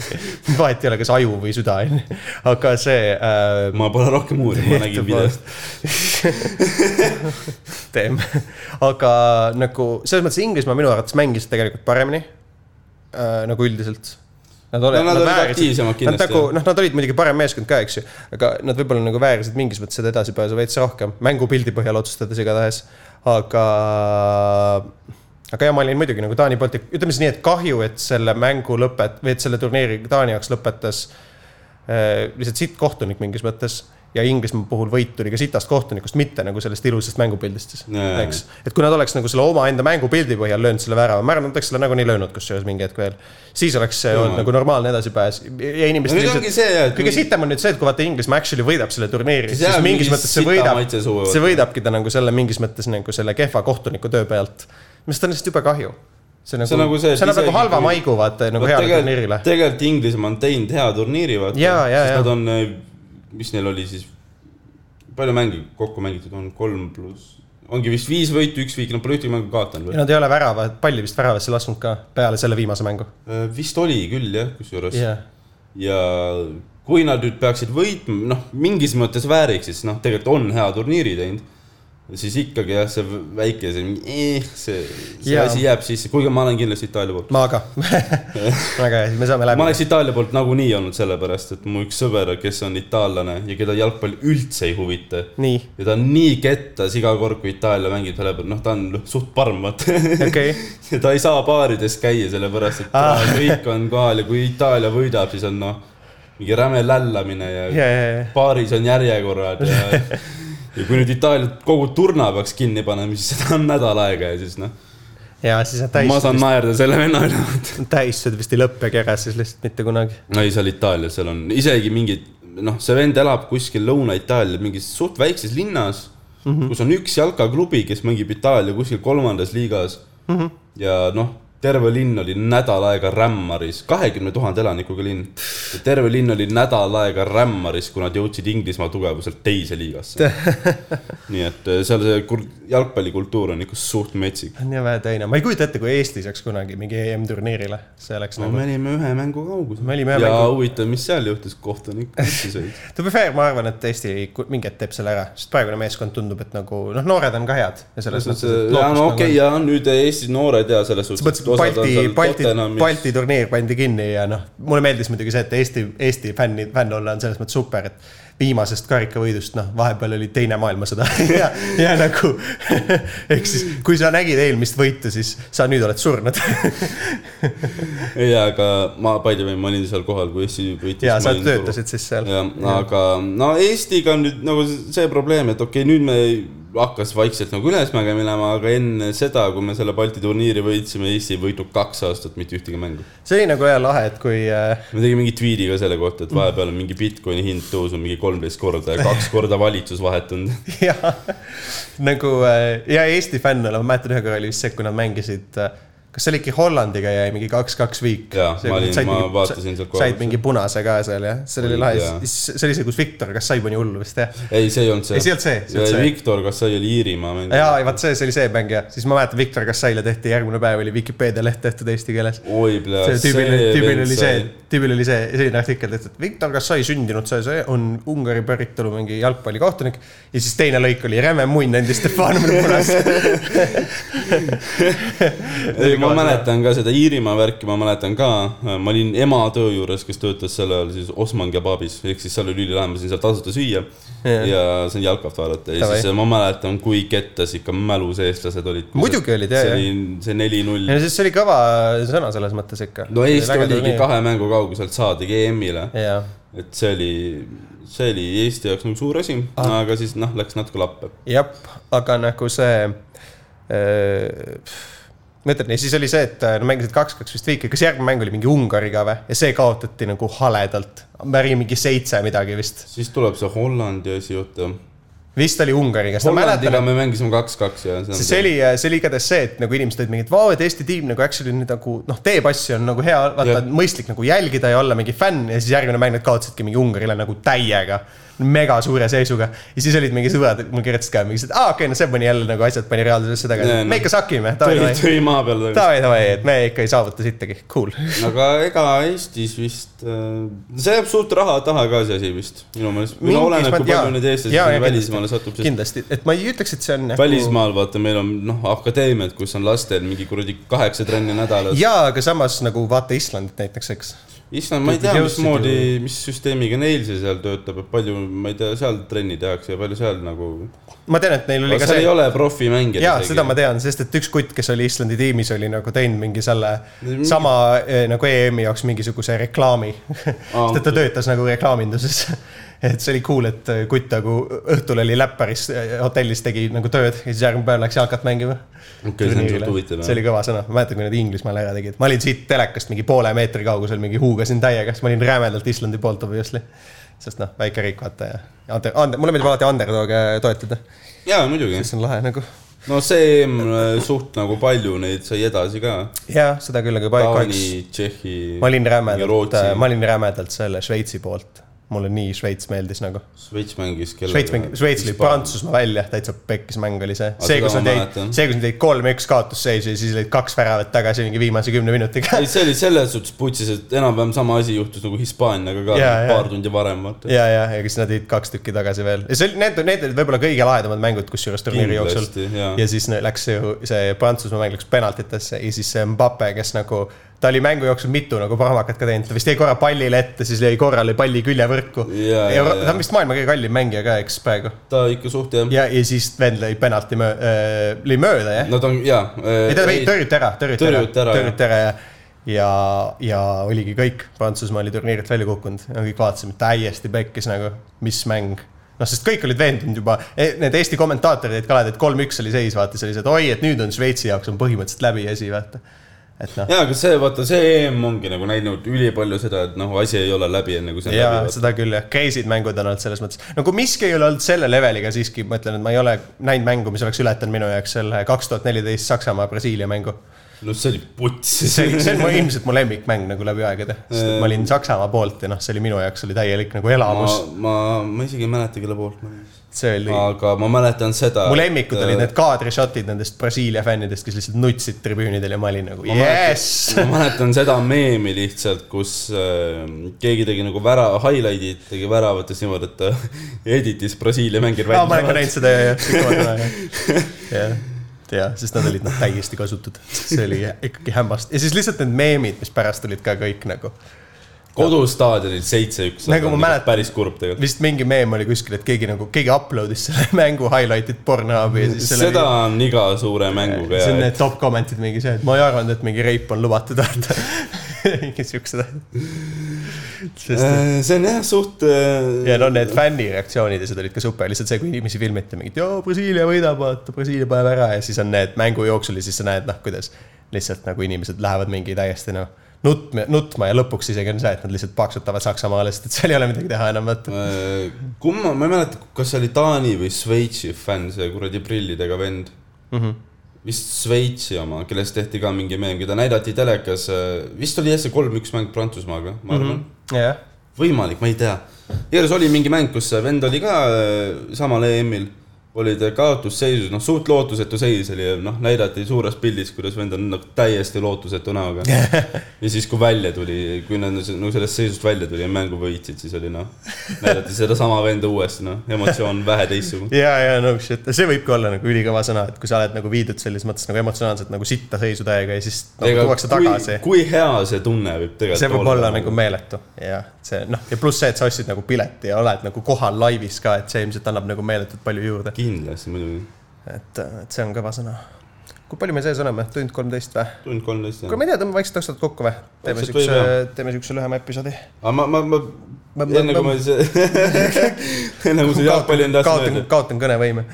vahet ei ole , kas aju või süda on ju , aga see äh, ma pole rohkem uurinud , ma nägin videost . [laughs] teeme , aga nagu selles mõttes Inglismaa minu arvates mängis tegelikult paremini . äh, nagu üldiselt . Nad, No nad olid aktiivsemad kindlasti, Nad nagu jah. noh , nad olid muidugi parem meeskond ka , eks ju , aga nad võib-olla nagu väärisid mingis mõttes seda edasipääsu veits rohkem , mängupildi põhjal otsustades igatahes . aga , aga jah , ma olin muidugi nagu Taani poolt , ütleme siis nii , et kahju , et selle mängu lõpet- või et selle turniiri Taani jaoks lõpetas äh, lihtsalt sitt kohtunik mingis mõttes ja Inglismaa puhul võit tuli ka sitast kohtunikust , mitte nagu sellest ilusast mängupildist siis , Jaa, jaa. eks . et kui nad oleks nagu selle omaenda mängupildi põhjal löönud selle värava , ma arvan , nad oleks selle nagunii löönud kusjuures mingi hetk veel . siis oleks see olnud nagu normaalne edasipääs ja no inimestel nüüd ongi see , et kõige sitem on nüüd see , et kui vaata Inglismaa actually võidab selle turniiri , Siis siis jääb mingis mingi mõttes see sita võidab , maitse suhu. see võidabki ta nagu selle mingis mõttes nagu selle kehva kohtuniku töö pealt . mis ta on lihtsalt jube kahju . see nagu , See on nagu see, et see annab isegi nagu halva kui- maigu vaata nagu Vaat heale tegelikult- turniirile . tegelikult Inglismaa on teinud hea turniiri , vaata . Jaa, jaa, jaa. Nad on , mis neil oli siis , palju mänge kokku mängitud on , kolm pluss , ongi vist viis võitu , üks viik , nad pole ühtegi mängu kaotanud ja või ? nad ei ole värava , palli vist väravasse lasknud ka peale selle viimase mängu . Eh, vist oli küll jah , kusjuures jah , ja kui nad nüüd peaksid võitma , noh , mingis mõttes vääriks , siis noh , tegelikult on hea turniiri teinud , siis ikkagi jah , see väike , see mingi eh, , see , see Jaa. asi jääb sisse , kuigi ma olen kindlasti Itaalia poolt . ma ka . [laughs] väga hea , me saame ma läbi . oleks Itaalia poolt nagunii olnud sellepärast , et mu üks sõber , kes on itaallane ja keda jalgpall üldse ei huvita nii , ja ta on nii kettas iga kord , kui Itaalia mängib , sellepärast , noh , ta on suht parm , vaata okei okay. . [laughs] ja ta ei saa baarides käia , sellepärast et Aa. ah. kõik on kohal ja kui Itaalia võidab , siis on noh , mingi räme lällamine ja ja , ja , ja , baaris on järjekorrad ja , ja kui nüüd Itaalia kogu turna peaks kinni panema , siis seda on nädal aega ja siis noh , ja siis nad ma saan tähistasid , naerda selle venna üle . tähistasid vist ei lõppegi ära siis lihtsalt mitte kunagi . no ei , seal Itaalias , seal on isegi mingid , noh , see vend elab kuskil Lõuna-Itaalial mingis suht väikses linnas mm , -hmm. kus on üks jalkaklubi , kes mängib Itaalia kuskil kolmandas liigas mm . -hmm. ja noh , terve linn oli nädal aega rämmaris , kahekümne tuhande elanikuga linn . terve linn oli nädal aega rämmaris , kui nad jõudsid Inglismaa tugevuselt teise [laughs] liigasse . nii et eh, seal see kul- jalgpallikultuur on ikka suht metsik . on ju vähe teine , ma ei kujuta ette , kui Eesti saaks kunagi mingi EM-turniirile , see oleks no nagu me olime ühe mängu kaugusel . Me olime ühe ja mängu- huvitav , mis seal juhtus , kohtunik püssis või ? to be fair , ma arvan , et Eesti ku- mingi hetk teeb selle ära , sest praegune meeskond tundub , et nagu noh , noored on ka head ja selles mõttes , et ja no lootust nagu okei , ja nüüd Eesti noored ja selles sa mõtlesid , et Balti , Balti , [laughs] Balti turniir pandi kinni ja noh , mulle meeldis muidugi see , et Eesti , Eesti fänni , fänn olla on selles mõttes super , et viimasest karikavõidust , noh , vahepeal oli teine maailmasõda [laughs] ja , ja nagu [laughs] ehk siis , kui sa nägid eelmist võitu , siis sa nüüd oled surnud . ei , aga ma , by the way , ma olin seal kohal , kui Eesti võitis . [laughs] ja sa töötasid siis seal . jah , aga no Eestiga on nüüd nagu see probleem , et okei okay, , nüüd me hakkas vaikselt nagu ülesmäge minema , aga enne seda , kui me selle Balti turniiri võitsime , Eesti ei võitnud kaks aastat mitte ühtegi mängu . see oli nagu hea lahe , et kui äh, me tegime mingi tweet'i ka selle kohta , et vahepeal on mingi Bitcoini hind tõusnud mingi kolmteist korda ja kaks korda valitsus [laughs] vahetunud . jah , nagu äh, ja Eesti fänn olen , ma mäletan , ühe korra oli vist see , kui nad mängisid , kas see oli ikka Hollandiga jäi mingi kaks-kaks viik . Jaa, ma olin- ma vaatasin sealt kohe said otsa. mingi punase ka seal jah , see oli Oli, lahe jaa. , see oli see , kus Viktor , kas sai mõni hull vist jah ? ei , see ei olnud see . Ei, see ei olnud see, see ei olnud see. Viktor , kas see oli Iirimaa mäng ? jaa , vaat see , see oli see mäng jah , siis ma mäletan , Viktor Kassaile tehti , järgmine päev oli Vikipeedia leht tehtud eesti keeles . oi , plee . see tüübil , tüübil oli see , tüübil oli see , selline artikkel tehtud , Viktor Kassai sündinud , see , see on Ungari päritolu mingi jalgpallikohtunik ja siis teine lõik oli räme munn andis Stefanovile [laughs] punase . ei , ma mäletan ka seda Iirimaa värki , ma mäletan ka , ma olin ema töö juures , kes töötas sel ajal siis Osman Kebabis , ehk siis seal oli ülilahe , ma sain seal tasuta süüa Jaa. ja sain jalkat vaadata ja Davai. siis ma mäletan , kui kettas ikka mälus eestlased olid . Muidugi olid, jaa, see oli see neli-null ei no . siis see oli kõva sõna selles mõttes ikka . no Eesti oligi . kahe mängu kauguselt saadigi EM-ile , jaa , et see oli , see oli Eesti jaoks nagu suur asi , Ah. aga siis noh , läks natuke lappe . jah , aga nagu see äh, . ma ütlen , ja siis oli see , et äh, no, mängisid kaks-kaks vist viiki , kas järgmine mäng oli mingi Ungariga või ? ja see kaotati nagu haledalt , märi mingi seitse midagi vist . siis tuleb see Hollandi asi , oota . vist oli Ungariga , sest ma mäletan , Hollandiga me mängisime kaks-kaks ja . see , see oli , see oli igatahes see , et nagu inimesed olid mingid , vau , et Eesti tiim nagu actually nüüd nagu noh , teeb asju , on nagu hea , vaata Jah. mõistlik nagu jälgida ja olla mingi fänn ja siis järgmine mäng nad kaotasidki mingi Ungarile nagu täiega . mega suure seisuga ja siis olid mingi sõbrad , mul kirjutasid ka mingi , et aa , okei okay, , no see pani jälle nagu asjad pani reaalsusesse tagasi Jaa, , noh. me ikka sakime , davai , tuli , davai , tuli maa peale tagasi . davai , davai , et me ikka ei saavuta sittagi , cool . aga ega Eestis vist , äh, see jääb suht raha taha ka see asi vist , minu meelest . no oleneb , kui palju neid eestlasi siin välismaal välismaalane satub , sest kindlasti , et ma ei ütleks , et see on nagu... . välismaal vaata , meil on noh , akadeemiad , kus on lastel mingi kuradi kaheksa trenni nädalas . jaa , aga samas nagu vaata Islandit näiteks , eks . Island , ma ei tea , Jõudsid mismoodi , mis süsteemiga neil see seal töötab , et palju , ma ei tea , seal trenni tehakse ja palju seal nagu . ma tean , et neil oli ka seal ei see . ole profimängijad . jaa , seda ma tean , sest et üks kutt , kes oli Islandi tiimis , oli nagu teinud mingi selle sama eh, nagu EM-i jaoks mingisuguse reklaami . [laughs] sest et ta töötas nagu reklaaminduses . [laughs] et see oli cool , et eh, kutt nagu õhtul oli läpparis eh, hotellis tegi nagu tööd ja siis järgmine päev läks jalkat mängima . Okei, see on suht huvitav, see oli kõva sõna , ma mäletan , kui nad Inglismaal ära tegid , ma olin siit telekast mingi poole meetri kaugusel mingi huugasin täiega , sest ma olin rämedalt Islandi poolt obviously . sest noh , väike riik vaata ja ande- , ande- , mulle meeldib alati underdog'e toetada , jaa , muidugi . mis on lahe nagu no see EM suht nagu palju neid sai edasi ka . jaa , seda küll , aga paik oleks . Taani , Tšehhi . ma olin rämedalt äh, Rootsi. , ma olin rämedalt selle Šveitsi poolt . mulle nii Šveits meeldis nagu . Šveits mängis . Šveits mängis , Šveits lõi . Prantsusmaa välja , täitsa pekkis mäng oli see . see , seda kus ma nad jäid , mäletan. see , kus nad jäid kolm-üks kaotusseisu ja siis lõid kaks väravat tagasi mingi viimase kümne minutiga . ei , see oli selles suhtes putsis , et enam-vähem sama asi juhtus nagu Hispaaniaga ka Jaa, jaa. paar tundi varem , vaata . [laughs] ja , ja , ja siis nad jäid kaks tükki tagasi veel . ja see oli , need , need olid võib-olla kõige lahedamad mängud , kusjuures turniiri jooksul . kindlasti , jaa . ja siis ne- läks ju see Prantsusmaa mäng läks penaltitesse ja siis see Mbappe , kes nagu , ta oli mängu jooksul mitu nagu parmakat ka teinud , ta vist jäi korra pallile ette , siis lõi korra , lõi palli küljevõrku . Jaa, jaa, ta jaa. on vist maailma kõige kallim mängija ka , eks praegu . ta ikka suht jah . ja , ja siis vend lõi penalti möö- , lõi mööda jah . Nad on , jaa . äh, ei ta lõi , tõrjuti ära , tõrjuti ära , Tõrjuti ära, tõrjuti ära ja ja , ja oligi kõik , Prantsusmaa oli turniirilt välja kukkunud , kõik vaatasime täiesti pekkis nagu , mis mäng . noh , sest kõik olid veendunud juba , need Eesti kommentaatorid olid ka alati , et kolm-üks oli seis , vaata , siis oli see , et oi , et nüüd on Šveitsi jaoks on põhimõtteliselt läbi asi , vaata . et noh , jaa , aga see , vaata , see EM ongi nagu näinud ülipalju seda , et noh , asi ei ole läbi , enne kui see on ja läbi . seda küll jah , crazy'd mängud on olnud selles mõttes , no kui miski ei ole olnud selle leveliga siiski , ma ütlen , et ma ei ole näinud mängu , mis oleks ületanud minu jaoks selle kaks tuhat neliteist Saksamaa-Brasiilia mängu no see oli putsis . see , see on mu, ilmselt mu lemmikmäng nagu läbi aegade , sest et ma olin Saksamaa poolt ja noh , see oli minu jaoks oli täielik nagu ma elamus ,, ma , ma isegi ei mäleta , kelle poolt ma olin . see oli . aga ma mäletan seda . äh, mu lemmikud olid need kaadrishotid nendest Brasiilia fännidest , kes lihtsalt nutsid tribüünidel ja ma olin nagu Ma mäletan- jess . ma mäletan seda meemi lihtsalt , kus äh, keegi tegi nagu vära , highlight'id tegi väravates niimoodi , et ta editis Brasiilia mängijad aa , ma olen ka välja . näinud seda ja , ja , [laughs] ja , ja , sest nad olid noh , täiesti kasutud , see oli ikkagi hämmast ja siis lihtsalt need meemid , mis pärast tulid ka kõik nagu kodustaadionil seitse-üks . Nagu ma mäletan- päris kurb tegelikult . vist mingi meem oli kuskil , et keegi nagu , keegi upload'is selle [laughs] mängu highlight'id Pornhubi ja siis selle seda on iga suure mänguga see on ja need top comment'id mingi see , et ma ei arvanud , et mingi reip on lubatud , vaata . [laughs] mingi siuksed asjad . sest et Äh, see on jah suht . äh, ja no need fänni reaktsioonid ja seda olid ka super , lihtsalt see , kui inimesi filmiti mingit , joo , Brasiilia võidab , vaata , Brasiilia paneb ära ja siis on need mängu jooksul ja siis sa näed , noh , kuidas lihtsalt nagu inimesed lähevad mingi täiesti noh , nutma , nutma ja lõpuks isegi on see , et nad lihtsalt paksutavad Saksamaale , sest et seal ei ole midagi teha enam , Äh. vaata . kumma , ma ei mäleta , kas see oli Taani või Šveitsi fänn , see kuradi prillidega vend mm . Mhm. vist Šveitsi oma , kellest tehti ka mingi meem , keda näidati telekas , vist oli jah see kolm-üks mäng Prantsusmaaga , ma arvan mm . -hmm. jah , võimalik , ma ei tea . igatahes oli mingi mäng , kus see vend oli ka äh, samal EM-il , oli ta kaotusseisus , noh , suht lootusetu seis oli ja noh , näidati suures pildis , kuidas vend on nagu täiesti lootusetu [laughs] näoga . ja siis , kui välja tuli , kui nad nagu sellest seisust välja tuli ja mängu võitsid , siis oli noh , näidati sedasama venda uuesti , noh , emotsioon vähe teistsugune . ja , ja no shit , see võibki olla nagu ülikõva sõna , et kui sa oled nagu viidud selles mõttes nagu emotsionaalselt nagu sitta seisu täiega ja siis nagu tuuakse tagasi kui, . kui hea see tunne võib tegelikult see võib olla nagu meeletu ja see noh , ja pluss see , et sa ostsid nagu pileti ja oled nagu kohal laivis ka , et see ilmselt annab nagu meeletult palju juurde . kindlasti muidugi . et , et see on kõva sõna . kui palju me sees oleme , tund kolmteist või ? tund kolmteist kuule , jah . ma ei tea , tõmbame vaikselt oksad kokku või ? teeme Oksad võib, siukse jah. , teeme siukse lühema episoodi . aga ma , ma , ma, ma , Ma- ma- enne kui ma- ma see , [laughs] enne kui see jalgpalli enda asja kaotan öelda ,, kaotan kõnevõime .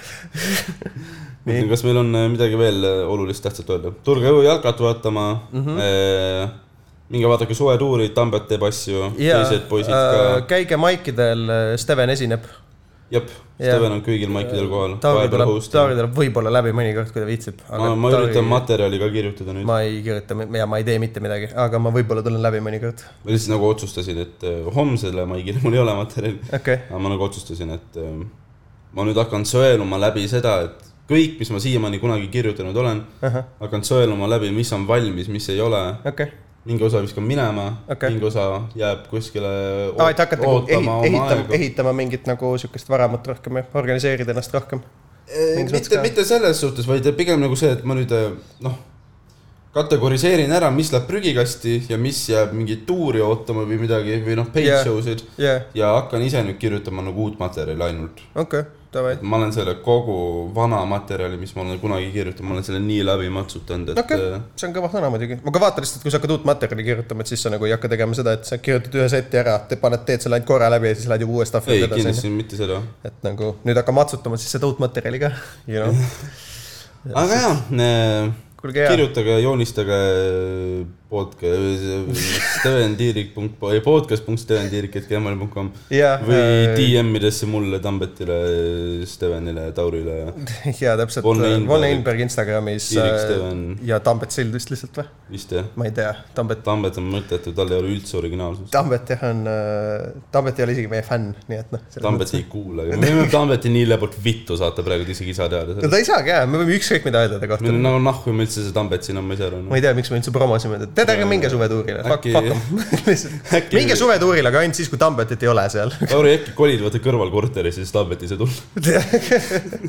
nii. kas meil on äh, midagi veel äh, olulist tähtsat öelda ? tulge ju jalkat vaatama mm . Mhm. -hmm. minge vaadake suvetuuri , Tambet teeb asju , teised poisid ka . äh, käige maikidel , Steven esineb . jep , jaa. Steven on kõigil maikidel kohal . Tauri tuleb , Tauri tuleb võib-olla läbi mõnikord , kui ta viitsib . ma , ma üritan materjali ka kirjutada nüüd . ma ei kirjuta ja ma ei tee mitte midagi , aga ma võib-olla tulen läbi mõnikord . ma lihtsalt nagu otsustasin , et äh, homsele maigile mul ei ole materjali . okei okay. . aga ma nagu otsustasin , et ähm, ma nüüd hakkan sõeluma läbi seda , et kõik , mis ma siiamaani kunagi kirjutanud olen , hakkan sõeluma läbi , mis on valmis , mis ei ole okei okay. , mingi osa viskan minema Okei. okay. , mingi osa jääb kuskile aa , et hakata nagu ehi- ootama oma ehitama , aega . ehitama mingit nagu siukest varamut rohkem ja organiseerida ennast rohkem . mingis mõttes mitte ka. , mitte selles suhtes , vaid pigem nagu see , et ma nüüd eh, noh , kategoriseerin ära , mis läheb prügikasti ja mis jääb mingit tuuri ootama või midagi või noh , page Jah. yeah. show sid jah , ja hakkan ise nüüd kirjutama nagu uut materjali ainult . okei , davai . et ma olen selle kogu vana materjali , mis ma olen kunagi kirjutanud , ma olen selle nii läbi matsutanud , et eh, äh, okei okay. , see on kõva sõna muidugi , aga vaata lihtsalt , kui sa hakkad uut materjali kirjutama , et siis sa nagu ei hakka tegema seda , et sa kirjutad ühe seti ära , paned , teed selle ainult korra läbi ja siis lähed juba uue stuff'i ei , edasi . kindlasti mitte seda . et nagu nüüd hakka matsutama siis seda uut materjali ka , you [laughs] know . aga jaa , kuulge hea , kirjutage , joonistage podcast.stevendiirik.podcast.stevendiirik.gmail.com jaa . äh, või . DM-idesse mulle , Tambetile , Stevenile , Taurile . [laughs] jaa , täpselt . Von Einberg. Von Einberg Instagramis Tiirik äh, Steven. ja Tambet Sild vist lihtsalt või ? vist jah ? ma ei tea , Tambet , Tambet on mõttetu , tal ei ole üldse originaalsust . Tambet jah on , Tambet ei ole isegi meie fänn , nii et noh . Tambet ei kuula , aga me võime Tambeti nii läbivalt vittu saata praegu , et isegi ei saa teada no seda . ta ei saagi jah , me võime ükskõik mida öelda ta kohta meil . on nagu nahku , me üldse see Tambet siin on , ma ei saa aru noh. ma no. . ei tea , miks me üldse promosime teda , tead , ärge minge suvetuurile , fuck , Äh, Äkki- fuck em . [laughs] lihtsalt [laughs] äkki- minge suvetuurile , aga ainult siis , kui Tambetit ei ole seal . [laughs] Lauri , äkki kolid vaata kõrvalkorterisse , siis Tambet ei saa tulla .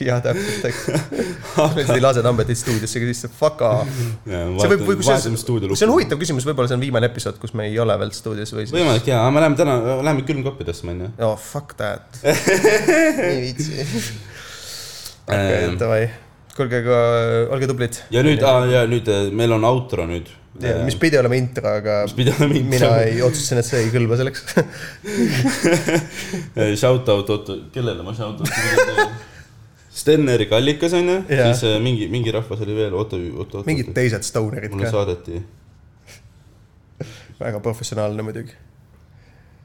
jah , täpselt , eks . me lihtsalt ei lase Tambetit stuudiosse , siis see fuck off . see võib , või kui see , see on . huvitav küsimus , võib-olla see on viimane episood , kus me ei ole veel stuudios või siis . võimalik jaa , aga me läheme täna , läheme külmkappi tõstma onju . oh fuck [laughs] that . ei viitsi . Ähm. okei , davai , kuulge , aga olge tublid . ja nüüd , ja nüüd äh, meil on outro nüüd . Äh, mis [laughs] pidi olema intro , aga pidi olema mina intro . ei otsustasin , et see ei kõlba [laughs] selleks . äh, Shout out , oota , kellele ma shout out [laughs] tegin ? Sten-Erik Allikas onju , Jaa. siis äh, mingi , mingi rahvas oli veel , oota , oota , mingid oota . teised stonerid mulle ka , saadeti . väga professionaalne muidugi .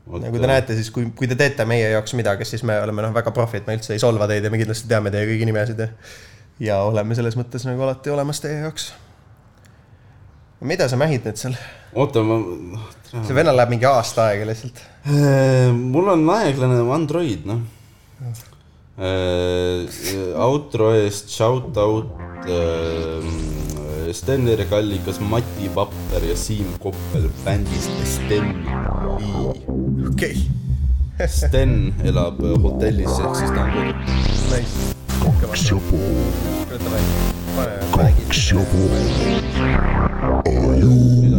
nagu te . näete , siis kui , kui te teete meie jaoks midagi , siis me oleme noh , väga profid , me üldse ei solva teid ja me kindlasti teame teie kõigi nimesid ja ja oleme selles mõttes nagu alati olemas teie jaoks . mida sa mähid nüüd seal ? oota , ma , see vennal läheb mingi aasta aega lihtsalt . Äh, mul on aeglane Android , noh . outro eest shout out äh, Sten-Erik Allikas , Mati Vapper ja Siim Koppel bändist Sten-Li . okei Sten elab hotellis , ehk siis ta on kodus . okay. , nice . kaks ja pool . pane , pane kinni . nüüd